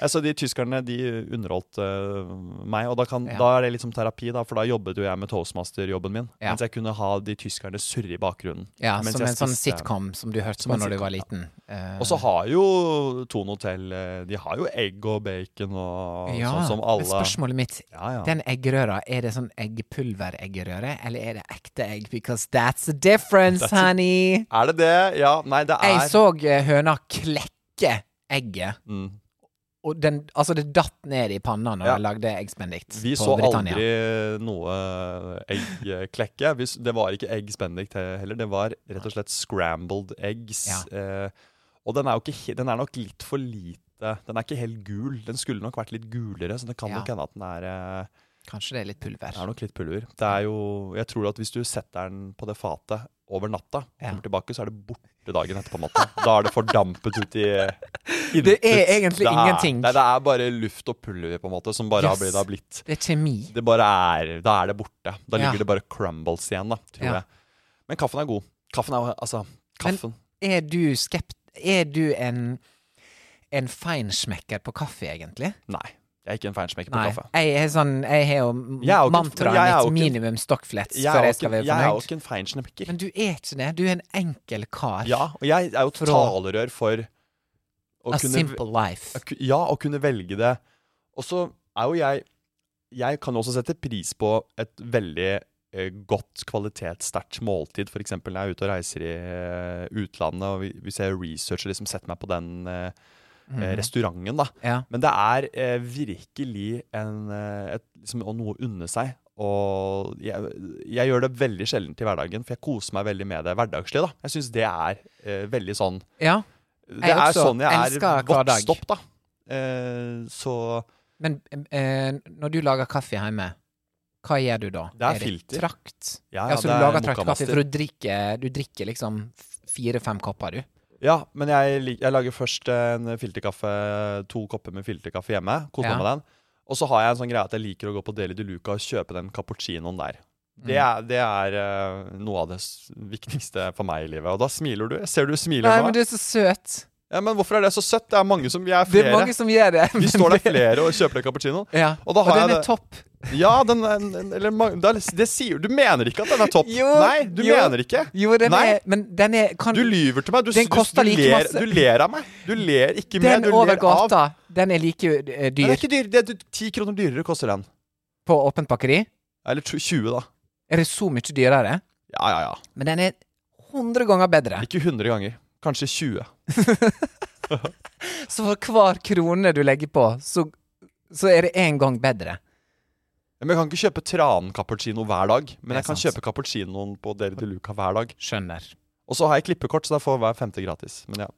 Speaker 1: Altså, de tyskerne de underholdt eh, meg, og da, kan,
Speaker 2: Ja.
Speaker 1: da er det litt som terapi, da, for da jobbet jo jeg med toastmaster-jobben min.
Speaker 2: Ja.
Speaker 1: Mens jeg kunne ha de tyskerne surre i bakgrunnen.
Speaker 2: Ja,
Speaker 1: Mens
Speaker 2: som
Speaker 1: jeg
Speaker 2: en sånn
Speaker 1: spiste-
Speaker 2: sitcom som du hørte
Speaker 1: Som
Speaker 2: på
Speaker 1: en
Speaker 2: når du var
Speaker 1: sitcom,
Speaker 2: liten. Eh,
Speaker 1: Og så har jo Tone Hotell eh, De har jo egg og bacon og
Speaker 2: ja,
Speaker 1: sånn som
Speaker 2: men
Speaker 1: alle
Speaker 2: Spørsmålet mitt
Speaker 1: Ja, ja.
Speaker 2: Den eggerøra, er det sånn eggepulvereggerøre, eller er det ekte egg? Because that's the difference,
Speaker 1: That's it.
Speaker 2: honey!
Speaker 1: Er det det? Ja. Nei, det er
Speaker 2: Jeg så eh, høna klekke egget.
Speaker 1: Mm.
Speaker 2: Og den, altså det datt ned i panna når
Speaker 1: Ja.
Speaker 2: jeg lagde eggsbendikt
Speaker 1: Vi
Speaker 2: på
Speaker 1: så
Speaker 2: Britannia.
Speaker 1: aldri noe eh, eggklekke. Vi s- Det var ikke egg spendict he- heller. Det var rett og slett scrambled eggs. Eh, og den er jo ikke he- Den er nok litt for lite Den er ikke helt gul. Den skulle nok vært litt gulere, så det kan
Speaker 2: Ja.
Speaker 1: nok hende at den er eh,
Speaker 2: Kanskje det er litt pulver.
Speaker 1: Det er nok litt pulver. Det er jo, jeg tror at hvis du setter den på det fatet over natta, og
Speaker 2: Ja.
Speaker 1: kommer tilbake, så er det borte dagen etterpå. på en måte. Da er det fordampet ut
Speaker 2: <laughs>
Speaker 1: i intet.
Speaker 2: Det er egentlig
Speaker 1: Det er-
Speaker 2: ingenting.
Speaker 1: Nei, det er bare luft og pulver, på en måte, som bare har
Speaker 2: Yes.
Speaker 1: blitt, det har blitt
Speaker 2: Det er kjemi.
Speaker 1: det bare er, Da er det borte. Da
Speaker 2: Ja.
Speaker 1: ligger det bare crumbles igjen, da, tror
Speaker 2: Ja.
Speaker 1: jeg. Men kaffen er god. Kaffen er altså Kaffen.
Speaker 2: Er du skept... Er du en en feinschmecker på kaffe, egentlig?
Speaker 1: Nei. Jeg er ikke en feinsmekker på
Speaker 2: Nei.
Speaker 1: kaffe.
Speaker 2: Jeg er sånn Jeg har jo
Speaker 1: Jeg er jo ikke-
Speaker 2: mantraet
Speaker 1: jeg er
Speaker 2: mitt
Speaker 1: jo ikke-
Speaker 2: minimum stockflats
Speaker 1: Jeg
Speaker 2: før
Speaker 1: er,
Speaker 2: jeg
Speaker 1: jo ikke,
Speaker 2: skal være
Speaker 1: jeg er jo
Speaker 2: fornøyd.
Speaker 1: ikke en feinsmekker.
Speaker 2: Men du er ikke det. Du er en enkel kar.
Speaker 1: Ja, og jeg er jo
Speaker 2: For å-
Speaker 1: talerør for å
Speaker 2: A simple life.
Speaker 1: å ku- Ja, å kunne velge det. Og så er jo jeg Jeg kan også sette pris på et veldig eh, godt kvalitetssterkt måltid, f.eks. når jeg er ute og reiser i eh, utlandet, og vi- hvis jeg researcher liksom setter meg på den eh, eh, restauranten, da.
Speaker 2: Ja.
Speaker 1: Men det er eh, virkelig en, eh, et, liksom, å noe å unne seg. Og jeg, jeg gjør det veldig sjelden til hverdagen, for jeg koser meg veldig med det hverdagslig. da. Jeg syns det er eh, veldig sånn
Speaker 2: ja.
Speaker 1: det
Speaker 2: Jeg
Speaker 1: er
Speaker 2: også
Speaker 1: sånn jeg
Speaker 2: elsker
Speaker 1: er
Speaker 2: hver dag.
Speaker 1: vokst opp, da. Eh, så
Speaker 2: Men eh, når du lager kaffe hjemme, hva gjør du da?
Speaker 1: Det er filter.
Speaker 2: trakt?
Speaker 1: Ja,
Speaker 2: Ja,
Speaker 1: ja,
Speaker 2: så
Speaker 1: det
Speaker 2: du
Speaker 1: er
Speaker 2: lager traktkaffe,
Speaker 1: mokkamaster.
Speaker 2: for du drikker, du drikker liksom f- fire-fem kopper, du?
Speaker 1: Ja, men jeg, lik- jeg lager først en filterkaffe, to kopper med filterkaffe hjemme. Koser
Speaker 2: Ja.
Speaker 1: meg med den. Og så har jeg en sånn greie at jeg liker å gå på Deli de Luca og kjøpe den cappuccinoen der. Det
Speaker 2: Mm.
Speaker 1: er, det er eh, noe av det s- viktigste for meg i livet. Og da smiler du. Jeg ser du smiler
Speaker 2: Nei,
Speaker 1: nå.
Speaker 2: men du er så søt!
Speaker 1: Ja, men hvorfor er det så søtt? Det er mange som Vi er
Speaker 2: Det er
Speaker 1: flere.
Speaker 2: mange som gjør det.
Speaker 1: Vi står der flere og kjøper den cappuccinoen.
Speaker 2: Ja.
Speaker 1: Og da har
Speaker 2: den
Speaker 1: jeg
Speaker 2: er
Speaker 1: det-
Speaker 2: topp.
Speaker 1: Ja, den er- en- eller, mang- det, er- det sier Du mener ikke at den er topp.
Speaker 2: Jo,
Speaker 1: Nei, du
Speaker 2: jo.
Speaker 1: mener ikke.
Speaker 2: Jo, den
Speaker 1: Nei.
Speaker 2: er Men den er kan,
Speaker 1: Du lyver til meg. Du,
Speaker 2: Den
Speaker 1: du,
Speaker 2: koster
Speaker 1: du,
Speaker 2: like
Speaker 1: ler,
Speaker 2: masse.
Speaker 1: du ler av meg. Du ler ikke mer.
Speaker 2: Den
Speaker 1: Du
Speaker 2: over
Speaker 1: ler av
Speaker 2: gata, den er like eh,
Speaker 1: Nei, det
Speaker 2: dyr
Speaker 1: er ikke dyr. Det er ti kroner dyrere koster den.
Speaker 2: på åpent bakeri.
Speaker 1: Eller tju- 20, da.
Speaker 2: Er det så mye dyrere?
Speaker 1: Ja, ja, ja.
Speaker 2: Men den er 100 ganger bedre.
Speaker 1: Ikke 100 ganger. Kanskje 20.
Speaker 2: Så for hver krone du legger på, så, så er det én gang bedre.
Speaker 1: Men Jeg kan ikke kjøpe tran-cappuccino hver dag, men
Speaker 2: Det er
Speaker 1: jeg kan
Speaker 2: sant.
Speaker 1: kjøpe cappuccinoen på Deli de Luca hver dag.
Speaker 2: Skjønner.
Speaker 1: Og så har jeg klippekort, så da får hver femte gratis. Men ja,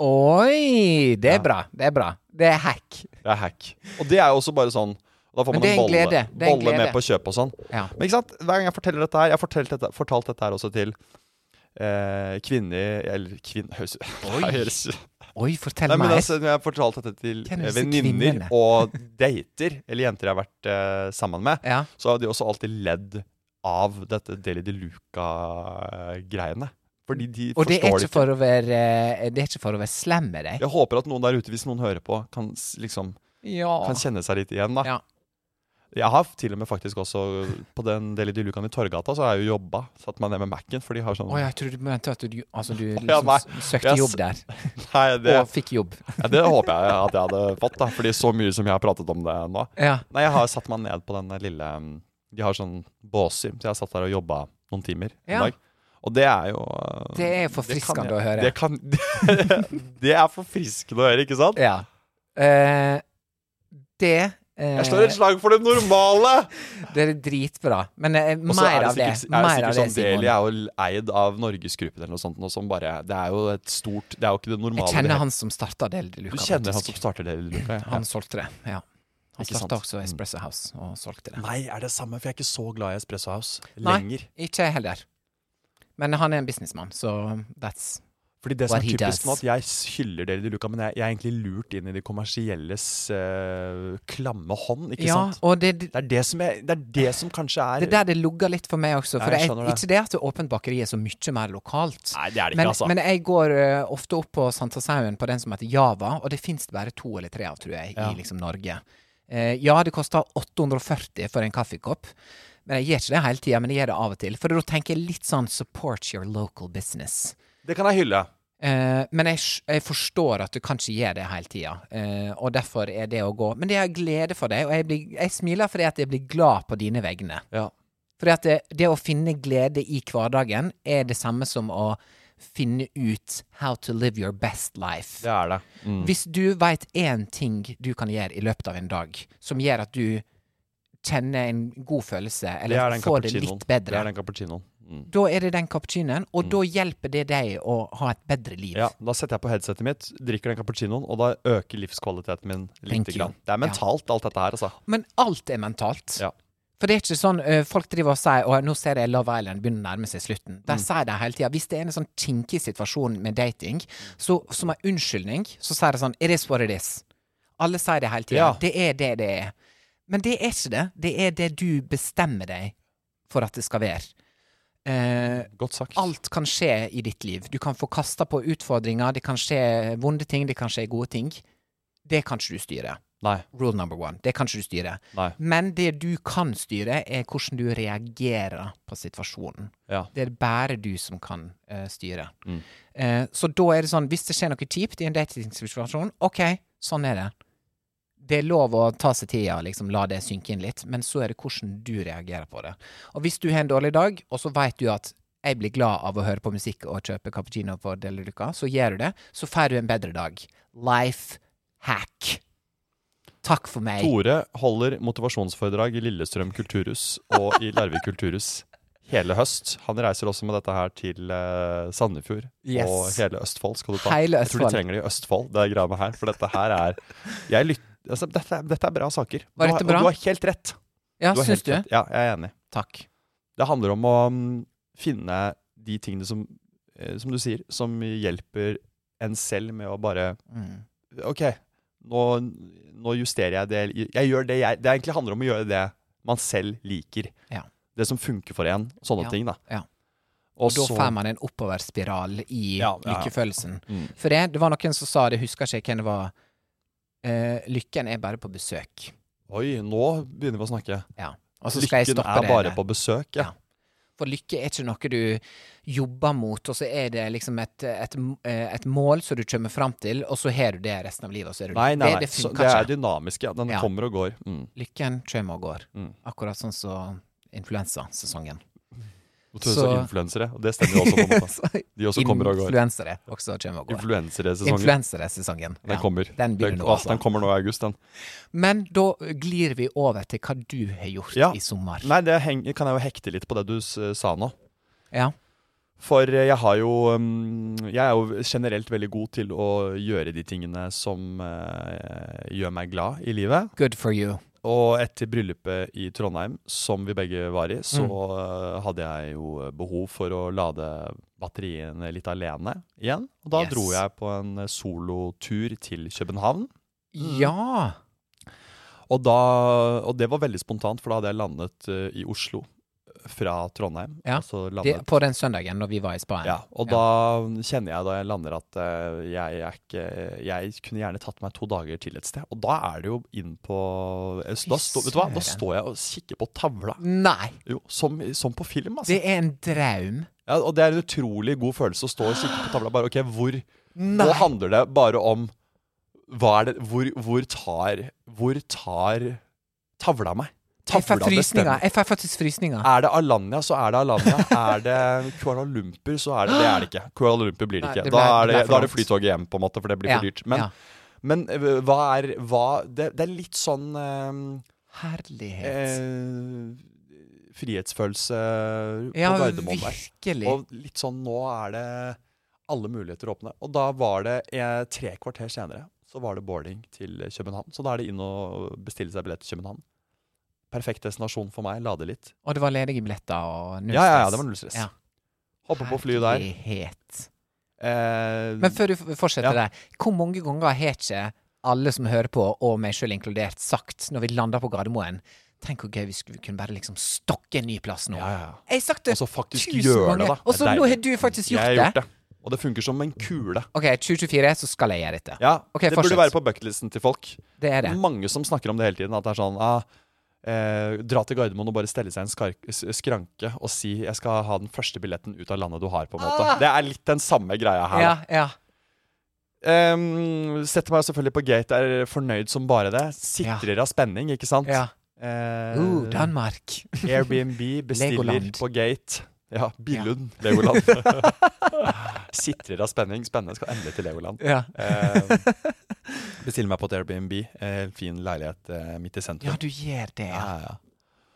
Speaker 2: Oi! Det er
Speaker 1: Ja.
Speaker 2: bra. Det er bra. Det er hack.
Speaker 1: det er hack. Og det er jo også bare sånn Da får man
Speaker 2: Men
Speaker 1: en
Speaker 2: det er en
Speaker 1: bolle,
Speaker 2: glede. Det er en
Speaker 1: bolle med
Speaker 2: glede.
Speaker 1: på kjøp og sånn.
Speaker 2: Ja.
Speaker 1: Men ikke sant, hver gang jeg forteller dette her Jeg har fortalt dette, fortalt dette her også til eh, kvinner Eller kvinner høres, <laughs> høres
Speaker 2: Oi, fortell
Speaker 1: Nei, men
Speaker 2: meg.
Speaker 1: altså, når jeg har fortalt dette til
Speaker 2: Hvem er
Speaker 1: eh,
Speaker 2: disse
Speaker 1: venninner
Speaker 2: kvinnene?
Speaker 1: og dater, eller jenter jeg har vært eh, sammen med,
Speaker 2: Ja.
Speaker 1: så har de også alltid ledd av dette Deli de Luca-greiene. Fordi de
Speaker 2: Og det
Speaker 1: forstår det
Speaker 2: er,
Speaker 1: ikke.
Speaker 2: ikke for å være, eh, det er ikke for å være slem med deg.
Speaker 1: Jeg håper at noen der ute, hvis noen hører på, kan, s- liksom,
Speaker 2: Ja.
Speaker 1: kan kjenne seg litt igjen. da.
Speaker 2: Ja.
Speaker 1: Jeg har til og med faktisk også På den Deli de Lucaen i Torgata så har jeg jo jobba. Satt meg ned med Mac-en, for de har sånn
Speaker 2: Å, jeg trodde du mente at du, altså, du
Speaker 1: <laughs>
Speaker 2: liksom
Speaker 1: Ja, nei.
Speaker 2: s- søkte
Speaker 1: Jeg s-
Speaker 2: jobb der,
Speaker 1: <laughs> Nei, det,
Speaker 2: og fikk jobb.
Speaker 1: ja, det håper jeg at jeg hadde fått, da. Fordi så mye som jeg har pratet om det nå.
Speaker 2: Ja.
Speaker 1: Nei, jeg har satt meg ned på den lille um, De har sånn båser, så jeg har satt der og jobba noen timer en
Speaker 2: Ja.
Speaker 1: dag. Og det er jo uh,
Speaker 2: Det er
Speaker 1: kan
Speaker 2: forfriskende
Speaker 1: jeg-
Speaker 2: å høre.
Speaker 1: Det, kan, <laughs> det er forfriskende å høre, ikke sant?
Speaker 2: Ja. Eh, det eh,
Speaker 1: Jeg slår et slag for det normale!
Speaker 2: Det er dritbra. Men eh,
Speaker 1: Og så
Speaker 2: mer
Speaker 1: er det
Speaker 2: av det.
Speaker 1: sikkert, er det
Speaker 2: Mer
Speaker 1: sikkert
Speaker 2: av det,
Speaker 1: sånn Deli
Speaker 2: Simon.
Speaker 1: er jo eid av Norgesgruppen eller noe sånt. Noe som bare, det er jo et stort Det er jo ikke det normale.
Speaker 2: Jeg
Speaker 1: det
Speaker 2: kjenner
Speaker 1: hele-
Speaker 2: han som starta Del Luca.
Speaker 1: Du kjenner han
Speaker 2: faktisk.
Speaker 1: som starter det? Luca, ja.
Speaker 2: Han solgte det, ja. Han
Speaker 1: Ikke sant? Mm.
Speaker 2: starta også Espresso House og solgte det.
Speaker 1: Nei, er det samme? For jeg er ikke så glad i Espresso House
Speaker 2: Nei.
Speaker 1: lenger.
Speaker 2: Ikke jeg heller. Men han er en businessmann, så that's
Speaker 1: Fordi det som
Speaker 2: What
Speaker 1: er
Speaker 2: he
Speaker 1: typisk nå,
Speaker 2: does.
Speaker 1: at jeg hyller dere de Luca, men jeg, jeg er egentlig lurt inn i de kommersielles eh, klamme hånd, ikke
Speaker 2: Ja,
Speaker 1: sant?
Speaker 2: og det, det
Speaker 1: Det er det som, jeg, det er det som kanskje er
Speaker 2: er der det lugger litt for meg også. For
Speaker 1: Ja,
Speaker 2: jeg
Speaker 1: jeg skjønner det.
Speaker 2: ikke det at det åpent bakeri er så mye mer lokalt.
Speaker 1: Nei, det er det ikke,
Speaker 2: men,
Speaker 1: altså.
Speaker 2: Men jeg går eh, ofte opp på Sankthanshaugen på den som heter Java, og det fins det bare to eller tre av, tror jeg,
Speaker 1: Ja.
Speaker 2: i liksom Norge. Eh, ja, det koster 840 for en kaffekopp. Men jeg gjør ikke det hele tida, men jeg gjør det av og til. For da tenker jeg litt sånn support your local business.
Speaker 1: Det kan jeg hylle.
Speaker 2: Eh, men jeg, sk- jeg forstår at du kan ikke gjøre det hele tida, eh, og derfor er det å gå Men det er glede for deg, og jeg, blir, jeg smiler fordi at jeg blir glad på dine vegne.
Speaker 1: Ja.
Speaker 2: Fordi at det, det å finne glede i hverdagen er det samme som å finne ut how to live your best life.
Speaker 1: Det er det. Mm.
Speaker 2: Hvis du veit én ting du kan gjøre i løpet av en dag, som gjør at du kjenner en god følelse,
Speaker 1: Det er
Speaker 2: eller
Speaker 1: den
Speaker 2: får det
Speaker 1: cappuccinoen.
Speaker 2: litt bedre,
Speaker 1: Det er den cappuccinoen. Mm.
Speaker 2: da er det den cappuccinoen, og da hjelper det deg å ha et bedre liv.
Speaker 1: Ja, da setter jeg på headsetet mitt, drikker den cappuccinoen, og da øker livskvaliteten min
Speaker 2: Thank
Speaker 1: lite
Speaker 2: you.
Speaker 1: grann. Det er mentalt, alt dette her, altså.
Speaker 2: Men alt er mentalt.
Speaker 1: Ja.
Speaker 2: For det er ikke sånn eh, folk driver og sier Og nå ser jeg Love Island begynner å nærme seg slutten. Der
Speaker 1: Mm.
Speaker 2: sier de hele tida Hvis det er en sånn kinkig situasjon med dating, så som en unnskyldning, så sier de sånn It is what it is. Alle sier det hele tida.
Speaker 1: Ja.
Speaker 2: Det er det det er. Men det er ikke det. Det er det du bestemmer deg for at det skal være. Eh,
Speaker 1: Godt sagt.
Speaker 2: Alt kan skje i ditt liv. Du kan få kasta på utfordringer, det kan skje vonde ting, det kan skje gode ting. Det kan ikke du styre.
Speaker 1: Nei.
Speaker 2: Rule number one. Det kan ikke du styre.
Speaker 1: Nei.
Speaker 2: Men det du kan styre, er hvordan du reagerer på situasjonen.
Speaker 1: Ja.
Speaker 2: Det er bare du som kan eh, styre.
Speaker 1: Mm.
Speaker 2: Eh, så da er det sånn, hvis det skjer noe kjipt i en datingsituasjon, ok, sånn er det. Det er lov å ta seg tida, liksom la det synke inn litt, men så er det hvordan du reagerer på det. Og hvis du har en dårlig dag, og så veit du at jeg blir glad av å høre på musikk og kjøpe cappuccino på Deli Luca, så gjør du det, så får du en bedre dag. Life hack. Takk for meg.
Speaker 1: Tore holder motivasjonsforedrag i Lillestrøm kulturhus og i Larvik kulturhus hele høst. Han reiser også med dette her til eh, Sandefjord
Speaker 2: Yes.
Speaker 1: og hele Østfold. skal du ta.
Speaker 2: Hele
Speaker 1: Jeg tror
Speaker 2: Østfold.
Speaker 1: de trenger det i Østfold, det er greiene her. For dette her er jeg lyt, altså, dette, er- dette er bra saker. Du
Speaker 2: Var
Speaker 1: har-
Speaker 2: dette bra?
Speaker 1: Og du har helt rett.
Speaker 2: Ja,
Speaker 1: har
Speaker 2: syns
Speaker 1: helt
Speaker 2: du?
Speaker 1: rett. Ja, jeg er enig.
Speaker 2: Takk.
Speaker 1: Det handler om å mm, finne de tingene som, eh, som du sier, som hjelper en selv med å bare
Speaker 2: Mm.
Speaker 1: OK, nå, nå justerer jeg det Jeg gjør det jeg Det egentlig handler om å gjøre det man selv liker.
Speaker 2: Ja.
Speaker 1: Det som funker for en. Sånne
Speaker 2: Ja,
Speaker 1: ting, da.
Speaker 2: ja.
Speaker 1: Og
Speaker 2: Og da
Speaker 1: så-
Speaker 2: får man en oppoverspiral i
Speaker 1: Ja, ja, ja.
Speaker 2: lykkefølelsen.
Speaker 1: Mm.
Speaker 2: For det, det var noen som sa det, husker ikke hvem det var. eh, lykken er bare på besøk.
Speaker 1: Oi, nå begynner vi å snakke.
Speaker 2: Ja. Og så skal jeg
Speaker 1: Lykken
Speaker 2: stoppe
Speaker 1: er
Speaker 2: det
Speaker 1: bare
Speaker 2: der.
Speaker 1: på besøk, ja.
Speaker 2: Ja. For lykke er ikke noe du jobber mot, og så er det liksom et, et, eh, et mål som du kommer fram til, og så har du det resten av livet, og så er du
Speaker 1: Nei, nei, nei.
Speaker 2: det, det
Speaker 1: så
Speaker 2: funker
Speaker 1: det er
Speaker 2: ikke.
Speaker 1: dynamisk, ja. Den
Speaker 2: Ja.
Speaker 1: kommer og går. Mm.
Speaker 2: Lykken kommer og går.
Speaker 1: Mm.
Speaker 2: Akkurat sånn som
Speaker 1: <laughs>
Speaker 2: influensasesongen.
Speaker 1: Og så...
Speaker 2: Så-
Speaker 1: influensere, og det stemmer jo også, på en
Speaker 2: <laughs>
Speaker 1: måte. De også kommer og går.
Speaker 2: Influensere også kommer og går.
Speaker 1: Influenseresesongen.
Speaker 2: Influenseresesongen.
Speaker 1: Den kommer.
Speaker 2: Den begynner nå.
Speaker 1: altså, den kommer nå i august, den.
Speaker 2: Men da glir vi over til hva du har gjort
Speaker 1: Ja.
Speaker 2: i sommer.
Speaker 1: Nei, det heng, kan jeg jo hekte litt på det du s sa nå.
Speaker 2: Ja.
Speaker 1: For eh, jeg har jo mm, Jeg er jo generelt veldig god til å gjøre de tingene som eh, gjør meg glad i livet.
Speaker 2: Good for you.
Speaker 1: Og etter bryllupet i Trondheim, som vi begge var i, så
Speaker 2: Mm.
Speaker 1: eh, hadde jeg jo behov for å lade batteriene litt alene igjen. Og da
Speaker 2: Yes.
Speaker 1: dro jeg på en solotur til København. Mm.
Speaker 2: Ja!
Speaker 1: Og, da, og det var veldig spontant, for da hadde jeg landet eh, i Oslo fra Trondheim.
Speaker 2: Ja,
Speaker 1: og så landet,
Speaker 2: Det, på den søndagen når vi var i Spania.
Speaker 1: ja, og da kjenner jeg da jeg lander at eh, jeg, er ikke, jeg kunne gjerne tatt meg to dager til et sted. Og da er det jo inn på eh, så da, stå, vet du hva? da
Speaker 2: søren.
Speaker 1: står jeg og kikker på tavla.
Speaker 2: Nei!
Speaker 1: Jo, som, som på film, altså.
Speaker 2: Det er en draum.
Speaker 1: Ja, og det er en utrolig god følelse å stå og kikke på tavla. Bare, ok, hvor, Nå handler det bare om hva er det, hvor, hvor, tar, hvor tar tavla meg?
Speaker 2: Jeg får
Speaker 1: Tavla
Speaker 2: frysninger.
Speaker 1: bestemmer.
Speaker 2: Jeg får faktisk frysninger.
Speaker 1: Er det Alanya, så er det Alanya. Er det Kuala Lumpur, så er det Det er det ikke. Kuala Lumpur blir det
Speaker 2: Nei,
Speaker 1: ikke.
Speaker 2: det ble-
Speaker 1: da, er
Speaker 2: det
Speaker 1: det,
Speaker 2: ble
Speaker 1: da er
Speaker 2: for
Speaker 1: det
Speaker 2: langt.
Speaker 1: flytoget hjem, på en måte, for det blir for dyrt. Men,
Speaker 2: ja.
Speaker 1: men eh, hva er hva, det, det er litt sånn eh,
Speaker 2: Herlighet.
Speaker 1: eh, Frihetsfølelse på
Speaker 2: ja,
Speaker 1: Gardermoen der.
Speaker 2: virkelig.
Speaker 1: Og litt sånn Nå er det alle muligheter åpne. Og da var det eh, tre kvarter senere så var det boarding til København. Så da er det inn og bestille seg billett til København. Perfekt destinasjon for meg. Lade litt.
Speaker 2: Og det var ledige billetter og null
Speaker 1: Ja, ja, ja, det var null stress.
Speaker 2: Ja.
Speaker 1: Hoppe på flyet der.
Speaker 2: Herlighet.
Speaker 1: Eh,
Speaker 2: Men før du f- fortsetter
Speaker 1: Ja.
Speaker 2: der, hvor mange ganger har ikke alle som hører på, og meg sjøl inkludert, sagt når vi lander på Gardermoen Tenk hvor gøy vi skulle vi kunne bare liksom stokke en ny plass nå.
Speaker 1: ja, ja, ja.
Speaker 2: Jeg har sagt det
Speaker 1: Og så faktisk
Speaker 2: tusen
Speaker 1: gjøre det,
Speaker 2: ganger,
Speaker 1: da.
Speaker 2: Og så
Speaker 1: Det er
Speaker 2: nå har
Speaker 1: deilig.
Speaker 2: du faktisk
Speaker 1: jeg
Speaker 2: gjort,
Speaker 1: har gjort
Speaker 2: det.
Speaker 1: det. Og det funker som en kule.
Speaker 2: OK, 2024, så skal jeg gjøre dette.
Speaker 1: Ja,
Speaker 2: Ok,
Speaker 1: Det
Speaker 2: fortsett.
Speaker 1: burde være på bucketlisten til folk.
Speaker 2: Det er det.
Speaker 1: Mange som snakker om det hele tiden. At det er sånn ah, eh, Dra til Gardermoen og bare stelle seg i en skark- s- skranke og si 'jeg skal ha den første billetten ut av landet du har'. på en måte Det er litt den samme greia her.
Speaker 2: Ah! Ja,
Speaker 1: da.
Speaker 2: ja.
Speaker 1: Em, setter meg selvfølgelig på gate, er fornøyd som bare det. Sitrer av spenning, ikke sant?
Speaker 2: ja.
Speaker 1: Eh,
Speaker 2: Uh, <laughs> Danmark.
Speaker 1: Airbnb bestiller
Speaker 2: Legoland.
Speaker 1: på Gate. Ja, Billund,
Speaker 2: <laughs>
Speaker 1: Legoland. Sitrer av spenning. Spennende, skal endelig til Legoland.
Speaker 2: Ja.
Speaker 1: Eh, bestiller meg på et Airbnb. eh, fin leilighet eh, midt i sentrum.
Speaker 2: ja, du gjør det, ja.
Speaker 1: Ja, ja.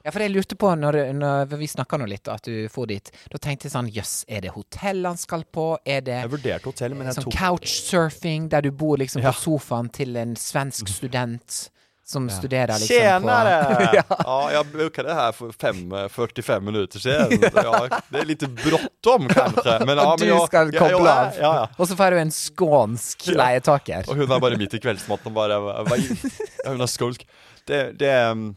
Speaker 2: Ja, for jeg lurte på, når, når vi snakka nå litt, at du for dit, da tenkte jeg sånn Jøss, er det hotell han skal på? Er det
Speaker 1: Jeg vurderte hotell, men jeg
Speaker 2: sånn
Speaker 1: tok
Speaker 2: couchsurfing, der du bor liksom
Speaker 1: Ja. Mhm.
Speaker 2: på sofaen til en svensk student som studerer liksom
Speaker 1: Tjenere! <laughs>
Speaker 2: på <laughs>
Speaker 1: ja. jag brukade det här för fem, eh, 45 minuter sedan. Ja, det är lite bråttom
Speaker 2: <laughs>
Speaker 1: kanske. Men, ja,
Speaker 2: At
Speaker 1: men
Speaker 2: du
Speaker 1: jag,
Speaker 2: skal
Speaker 1: jag-
Speaker 2: koble
Speaker 1: jag-
Speaker 2: av.
Speaker 1: Ja, ja.
Speaker 2: Og så får du en skånsk leietaker.
Speaker 1: Og hun er bare midt i kveldsmaten og bare hva- hva i- ja, Hun er skolk. Det, det er um,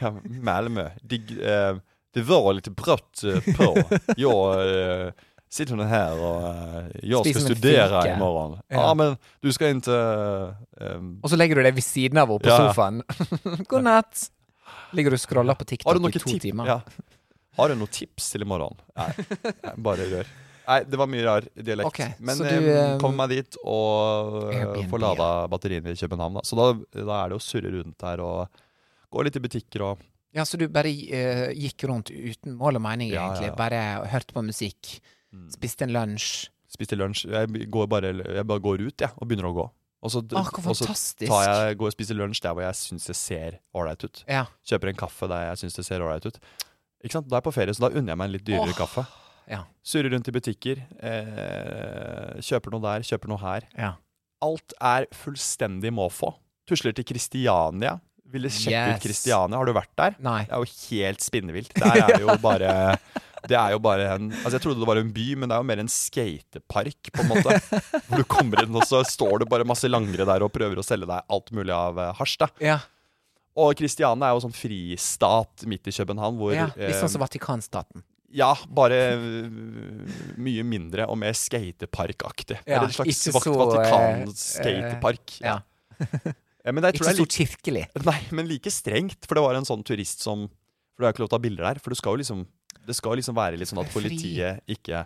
Speaker 1: ja, Malmö. Det, eh, det var litt brått eh, på. Jeg eh, sitter nå her og eh, jeg
Speaker 2: Spiser
Speaker 1: skal
Speaker 2: en
Speaker 1: studere i
Speaker 2: fika.
Speaker 1: morgen. Ja,
Speaker 2: Ja.
Speaker 1: men du skal ikke um,
Speaker 2: Og så legger du deg ved siden av henne på
Speaker 1: Ja, ja.
Speaker 2: sofaen. <laughs> God natt! Ligger du og scroller på TikTok
Speaker 1: Har du
Speaker 2: i
Speaker 1: noen
Speaker 2: to
Speaker 1: tips?
Speaker 2: timer.
Speaker 1: Ja. Har du noen tips til i morgen? Nei, nei, bare rør. Nei, det var mye rar dialekt.
Speaker 2: Ok,
Speaker 1: Men
Speaker 2: så
Speaker 1: eh,
Speaker 2: du, eh,
Speaker 1: kom meg dit og eh,
Speaker 2: Airbnb,
Speaker 1: få lada batteriene i København. Da. Så da, da er det å surre rundt der og gå litt i butikker og
Speaker 2: Ja, så du bare eh, gikk rundt uten mål og mening,
Speaker 1: Ja, ja, ja.
Speaker 2: egentlig.
Speaker 1: Mm.
Speaker 2: Bare hørte på musikk. Spiste en lunsj.
Speaker 1: spiste lunsj. Jeg går bare, jeg bare går ut jeg, og begynner å gå. Og så,
Speaker 2: Ah, hvor
Speaker 1: og så
Speaker 2: fantastisk.
Speaker 1: tar jeg, går og spiser lunsj der hvor jeg syns det ser ålreit ut.
Speaker 2: Ja.
Speaker 1: Kjøper en kaffe der jeg syns det ser ålreit ut. Ikke sant? Da er jeg på ferie, så da unner jeg meg en litt dyrere kaffe.
Speaker 2: ja.
Speaker 1: Surrer rundt i butikker. Eh, kjøper noe der, kjøper noe her.
Speaker 2: Ja.
Speaker 1: Alt er fullstendig måfå. Tusler til Kristiania. Ville sjekke
Speaker 2: Yes.
Speaker 1: ut Kristiania. Har du vært der?
Speaker 2: Nei.
Speaker 1: Det er jo helt spinnevilt. Der
Speaker 2: <laughs>
Speaker 1: er det jo bare Det er jo bare en Altså, jeg trodde det var en by, men det er jo mer en skatepark, på en
Speaker 2: <laughs>
Speaker 1: måte. Hvor du kommer inn, og så står det bare masse langere der og prøver å selge deg alt mulig av eh, hasj, da.
Speaker 2: Ja,
Speaker 1: Og Kristiania er jo sånn fristat midt i København, hvor
Speaker 2: ja. Litt
Speaker 1: eh,
Speaker 2: sånn som Vatikanstaten.
Speaker 1: ja, bare øh, mye mindre og mer skateparkaktig.
Speaker 2: Ja,
Speaker 1: Eller en slags
Speaker 2: ikke
Speaker 1: Vakt-
Speaker 2: så, eh,
Speaker 1: Vatikan-skatepark.
Speaker 2: Ja.
Speaker 1: Ja, men jeg tror
Speaker 2: Ikke
Speaker 1: det er
Speaker 2: så
Speaker 1: litt,
Speaker 2: kirkelig.
Speaker 1: <laughs> Nei, men like strengt. For det var en sånn turist som For du har ikke lov til å ta bilder der. For du skal jo liksom, det skal jo liksom være litt sånn at
Speaker 2: Skal være fri.
Speaker 1: politiet ikke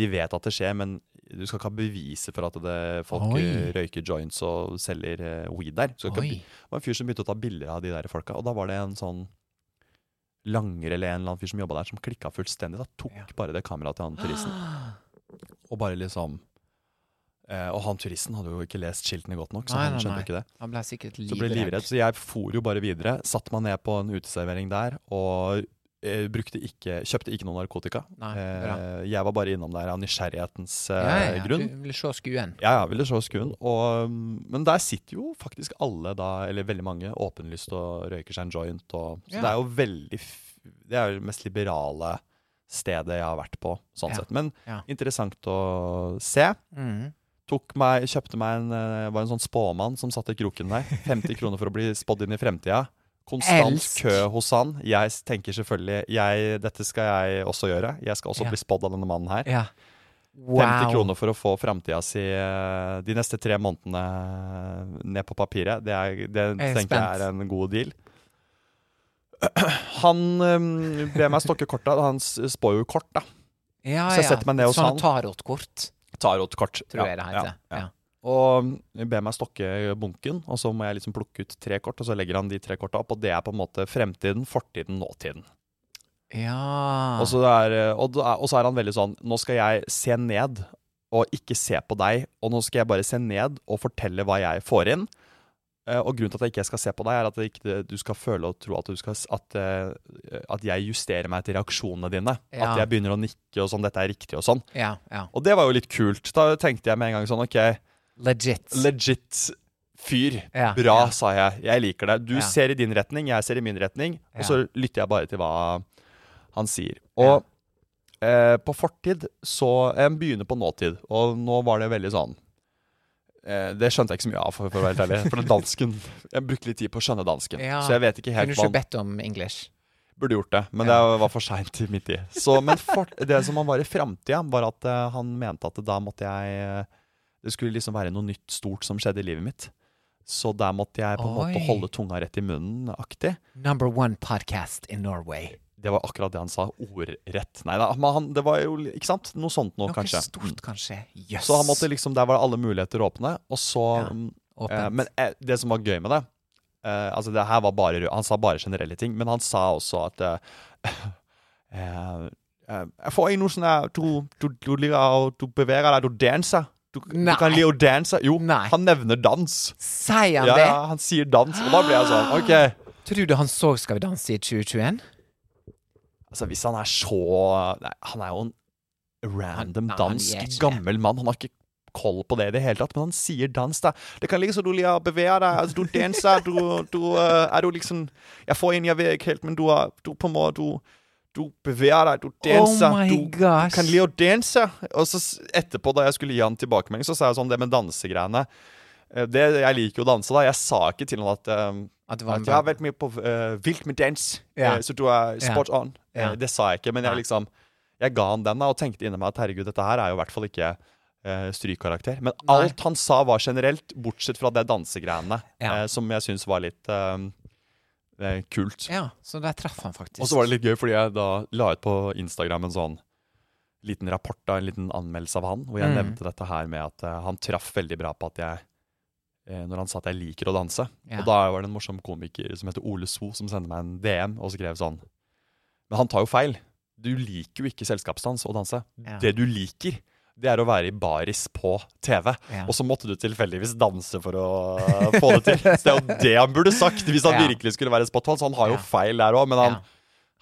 Speaker 1: De vet at det skjer, men du skal ikke ha beviser for at det, folk
Speaker 2: Oi.
Speaker 1: øh, røyker joints og selger øh, weed der. Du Skal ikke ha
Speaker 2: Oi.
Speaker 1: bi- det var en fyr som begynte å ta bilder av de der folka, og da var det en sånn langer eller en eller annen fyr som jobba der, som klikka fullstendig. Da tok bare det kameraet til han turisten.
Speaker 2: <gasps>
Speaker 1: Og bare liksom eh, Og han turisten hadde jo ikke lest skiltene godt nok, så han skjønte ikke det.
Speaker 2: Han ble sikkert
Speaker 1: Så ble jeg livredd,
Speaker 2: livredd.
Speaker 1: så jeg for jo bare videre. Satte meg ned på en uteservering der og eh, brukte ikke, kjøpte ikke noe narkotika.
Speaker 2: Nei, bra.
Speaker 1: eh, jeg var bare innom der av nysgjerrighetens eh,
Speaker 2: Ja, ja, ja.
Speaker 1: grunn.
Speaker 2: Du ville se skuen.
Speaker 1: Ja, ja, ville se skuen. Og, um, men der sitter jo faktisk alle da, eller veldig mange, åpenlyst og røyker seg en joint. Og, så
Speaker 2: Ja.
Speaker 1: det er jo veldig f- Det er jo det mest liberale stedet jeg har vært på, sånn
Speaker 2: Ja.
Speaker 1: sett. Men
Speaker 2: Ja.
Speaker 1: interessant å se.
Speaker 2: Mm.
Speaker 1: Tok meg, kjøpte meg en eh, var en sånn spåmann som satt i kroken der.
Speaker 2: <laughs>
Speaker 1: 50 kroner for å bli spådd inn i fremtida. Konstant
Speaker 2: Elsk.
Speaker 1: kø hos han. Jeg s- tenker selvfølgelig jeg, Dette skal jeg også gjøre. Jeg skal også
Speaker 2: Ja.
Speaker 1: bli spådd av denne mannen her.
Speaker 2: Ja.
Speaker 1: 50 kroner for å få framtida si eh, de neste tre månedene ned på papiret. Det, er, det
Speaker 2: Jeg er
Speaker 1: tenker jeg er en god deal. <clears throat> Han eh, ber meg stokke korta. Han s- spår jo kort, da.
Speaker 2: Ja,
Speaker 1: Så jeg
Speaker 2: ja.
Speaker 1: setter meg ned hos han.
Speaker 2: Sånn tarotkort,
Speaker 1: Tarotkort.
Speaker 2: tror
Speaker 1: Ja,
Speaker 2: jeg det heter.
Speaker 1: ja, ja.
Speaker 2: Ja.
Speaker 1: Og ehm, ber meg stokke bunken, og så må jeg liksom plukke ut tre kort. Og så legger han de tre korta opp, og det er på en måte fremtiden, fortiden, nåtiden.
Speaker 2: Ja.
Speaker 1: Og så er, eh, og da- og så er han veldig sånn Nå skal jeg se ned og ikke se på deg, og nå skal jeg bare se ned og fortelle hva jeg får inn. Eh, Og grunnen til at jeg ikke skal se på deg, er at det ikke, du skal føle og tro at, du skal, s- at, eh, at jeg justerer meg til reaksjonene dine.
Speaker 2: Ja.
Speaker 1: At jeg begynner å nikke og sånn 'Dette er riktig' og sånn.
Speaker 2: ja, ja.
Speaker 1: Og det var jo litt kult. Da tenkte jeg med en gang sånn OK,
Speaker 2: Legit.
Speaker 1: legit fyr.
Speaker 2: Ja,
Speaker 1: Bra,
Speaker 2: ja.
Speaker 1: sa jeg. Jeg liker deg. Du
Speaker 2: Ja.
Speaker 1: ser i din retning, jeg ser i min retning.
Speaker 2: Ja.
Speaker 1: Og så lytter jeg bare til hva han sier. Og eh, på fortid så En begynner på nåtid, og nå var det veldig sånn eh, det skjønte jeg ikke så mye av, for, for å være helt ærlig.
Speaker 2: <laughs>
Speaker 1: For den dansken Jeg brukte litt tid på å skjønne dansken.
Speaker 2: Ja.
Speaker 1: Så jeg vet ikke
Speaker 2: Kunne
Speaker 1: helt
Speaker 2: du
Speaker 1: hva
Speaker 2: ikke bedt om English?
Speaker 1: Burde gjort det, men det var for seint i min tid. Så, men for, det som han var i framtida, var at eh, han mente at da måtte jeg eh, Det skulle liksom være noe nytt stort som skjedde i livet mitt. Så der måtte jeg på en måte
Speaker 2: Oi.
Speaker 1: holde tunga rett i munnen aktig.
Speaker 2: Number one podcast in Norway.
Speaker 1: Det var akkurat det han sa. Ordrett. Nei da, men han, det var jo ikke sant? Noe sånt noe,
Speaker 2: Noe
Speaker 1: kanskje.
Speaker 2: stort, kanskje. Jøss.
Speaker 1: Så han måtte liksom, der var alle muligheter åpne. Og så
Speaker 2: Ja.
Speaker 1: mm,
Speaker 2: Åpent.
Speaker 1: Eh, men eh, det som var gøy med det eh, Altså, det her var bare rød- Han sa bare generelle ting, men han sa også at eh, <laughs> eh, eh, Jeg får ikke noe sånn her du, du, du ligger og du beveger deg, du danser. Du, du
Speaker 2: Nei.
Speaker 1: kan ligge og danse. Jo,
Speaker 2: Nei.
Speaker 1: han nevner dans.
Speaker 2: Sier han
Speaker 1: Ja,
Speaker 2: det?
Speaker 1: ja, han sier dans, og da ble jeg sånn OK.
Speaker 2: Tror du han så Skal vi danse i 2021?
Speaker 1: Altså, hvis han er så Nei, han er jo en random
Speaker 2: Han- han er
Speaker 1: dansk
Speaker 2: ikke det.
Speaker 1: gammel mann. Han har ikke koll på det i det hele tatt, men han sier dans, da. Det kan ligge så du liker å bevege deg. Altså, du danser, du, du eh, Er du liksom Jeg får en jeg vet ikke helt, men du er du på en måte du, du beveger deg, du danser.
Speaker 2: Oh my
Speaker 1: du, du
Speaker 2: gosh.
Speaker 1: kan lide å danse. Og så s- etterpå, da jeg skulle gi han tilbakemelding, så sa jeg sånn Det med dansegreiene eh, det, Jeg liker jo å danse, da. Jeg sa ikke til han at eh,
Speaker 2: At det var en
Speaker 1: at jeg har
Speaker 2: bra-
Speaker 1: vært med på eh, Vilt med dans,
Speaker 2: Ja.
Speaker 1: eh, så du er spot on.
Speaker 2: Ja.
Speaker 1: Eh, det sa jeg ikke, men jeg liksom Jeg ga han den da og tenkte inni meg at herregud, dette her er jo i hvert fall ikke eh, strykkarakter. Men alt han sa var generelt, bortsett fra det dansegreiene,
Speaker 2: Ja.
Speaker 1: eh, som jeg syns var litt eh, eh, kult.
Speaker 2: Ja, så der traff han faktisk.
Speaker 1: Og så var det litt gøy, fordi jeg da la ut på Instagram en sånn liten rapport, da, en liten anmeldelse av han, hvor jeg
Speaker 2: Mm.
Speaker 1: nevnte dette her med at eh, han traff veldig bra på at jeg eh, Når han sa at jeg liker å danse.
Speaker 2: Ja.
Speaker 1: Og da var det en morsom komiker som heter Ole So, som sendte meg en DM og skrev sånn Men han tar jo feil. Du liker jo ikke selskapsdans og danse.
Speaker 2: Ja.
Speaker 1: Det du liker, det er å være i baris på TV.
Speaker 2: Ja.
Speaker 1: Og så måtte du tilfeldigvis danse for å eh, få det
Speaker 2: <laughs>
Speaker 1: til. Så det er jo det han burde sagt, hvis han
Speaker 2: Ja.
Speaker 1: virkelig skulle være spot on. Så han har jo
Speaker 2: Ja.
Speaker 1: feil der òg, men han
Speaker 2: Ja.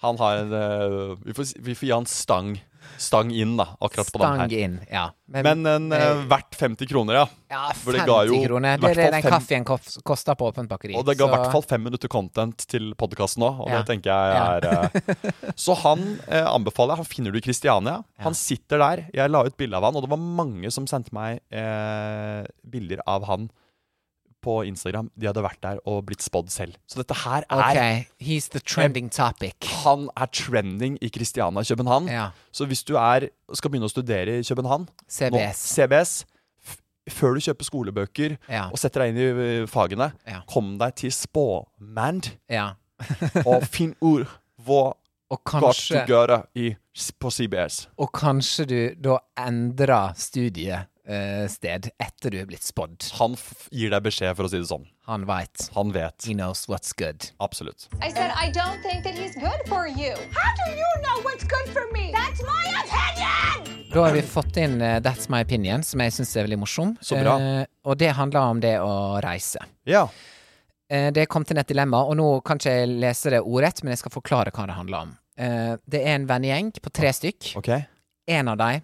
Speaker 1: han har en eh, vi, får, s- vi får gi han stang Stang inn, da, akkurat på den
Speaker 2: Stang
Speaker 1: her.
Speaker 2: inn, ja.
Speaker 1: Men en, eh, verdt 50 kroner, ja.
Speaker 2: ja,
Speaker 1: for det
Speaker 2: 50
Speaker 1: ga jo
Speaker 2: kroner. Det
Speaker 1: hvert
Speaker 2: er det
Speaker 1: fall
Speaker 2: den
Speaker 1: fem-
Speaker 2: kaffen kof- koster på åpent bakeri.
Speaker 1: Og det ga i
Speaker 2: så-
Speaker 1: hvert fall fem minutter content til podkasten òg, og
Speaker 2: Ja.
Speaker 1: det tenker jeg er
Speaker 2: <laughs>
Speaker 1: eh, Så han eh, anbefaler jeg. Han finner du i Kristiania. Han sitter der. Jeg la ut bilde av han, og det var mange som sendte meg eh, bilder av han på Instagram. De hadde vært der og blitt spådd selv. Så dette her er
Speaker 2: Ok, he's the trending topic.
Speaker 1: Han er trending i Kristiania i København.
Speaker 2: Ja.
Speaker 1: Så hvis du er, skal begynne å studere i København
Speaker 2: CBS.
Speaker 1: Nå, CBS f- før du kjøper skolebøker
Speaker 2: Ja.
Speaker 1: og setter deg inn i ø, fagene,
Speaker 2: Ja.
Speaker 1: kom deg til spåmand
Speaker 2: Ja. <laughs>
Speaker 1: og finn ord hvor
Speaker 2: Og
Speaker 1: godt du
Speaker 2: kanskje,
Speaker 1: gjør det i, s- på CBS.
Speaker 2: og kanskje du da endrer studiested etter du er blitt spådd.
Speaker 1: Han f gir deg beskjed, for å si det sånn.
Speaker 2: Han veit.
Speaker 1: Han vet.
Speaker 2: He knows what's good.
Speaker 1: Absolutt.
Speaker 4: I said, I don't think that he's good for you. How do you know what's good for me? That's my opinion!
Speaker 2: Da har vi fått inn eh, That's My Opinion, som jeg syns er veldig morsom.
Speaker 1: Så bra.
Speaker 2: Eh, og det handler om det å reise.
Speaker 1: Ja.
Speaker 2: Eh, Det kom til et dilemma, og nå kan ikke jeg lese det ordrett, men jeg skal forklare hva det handler om. Eh, Det er en vennegjeng på tre stykk.
Speaker 1: OK.
Speaker 2: En av dem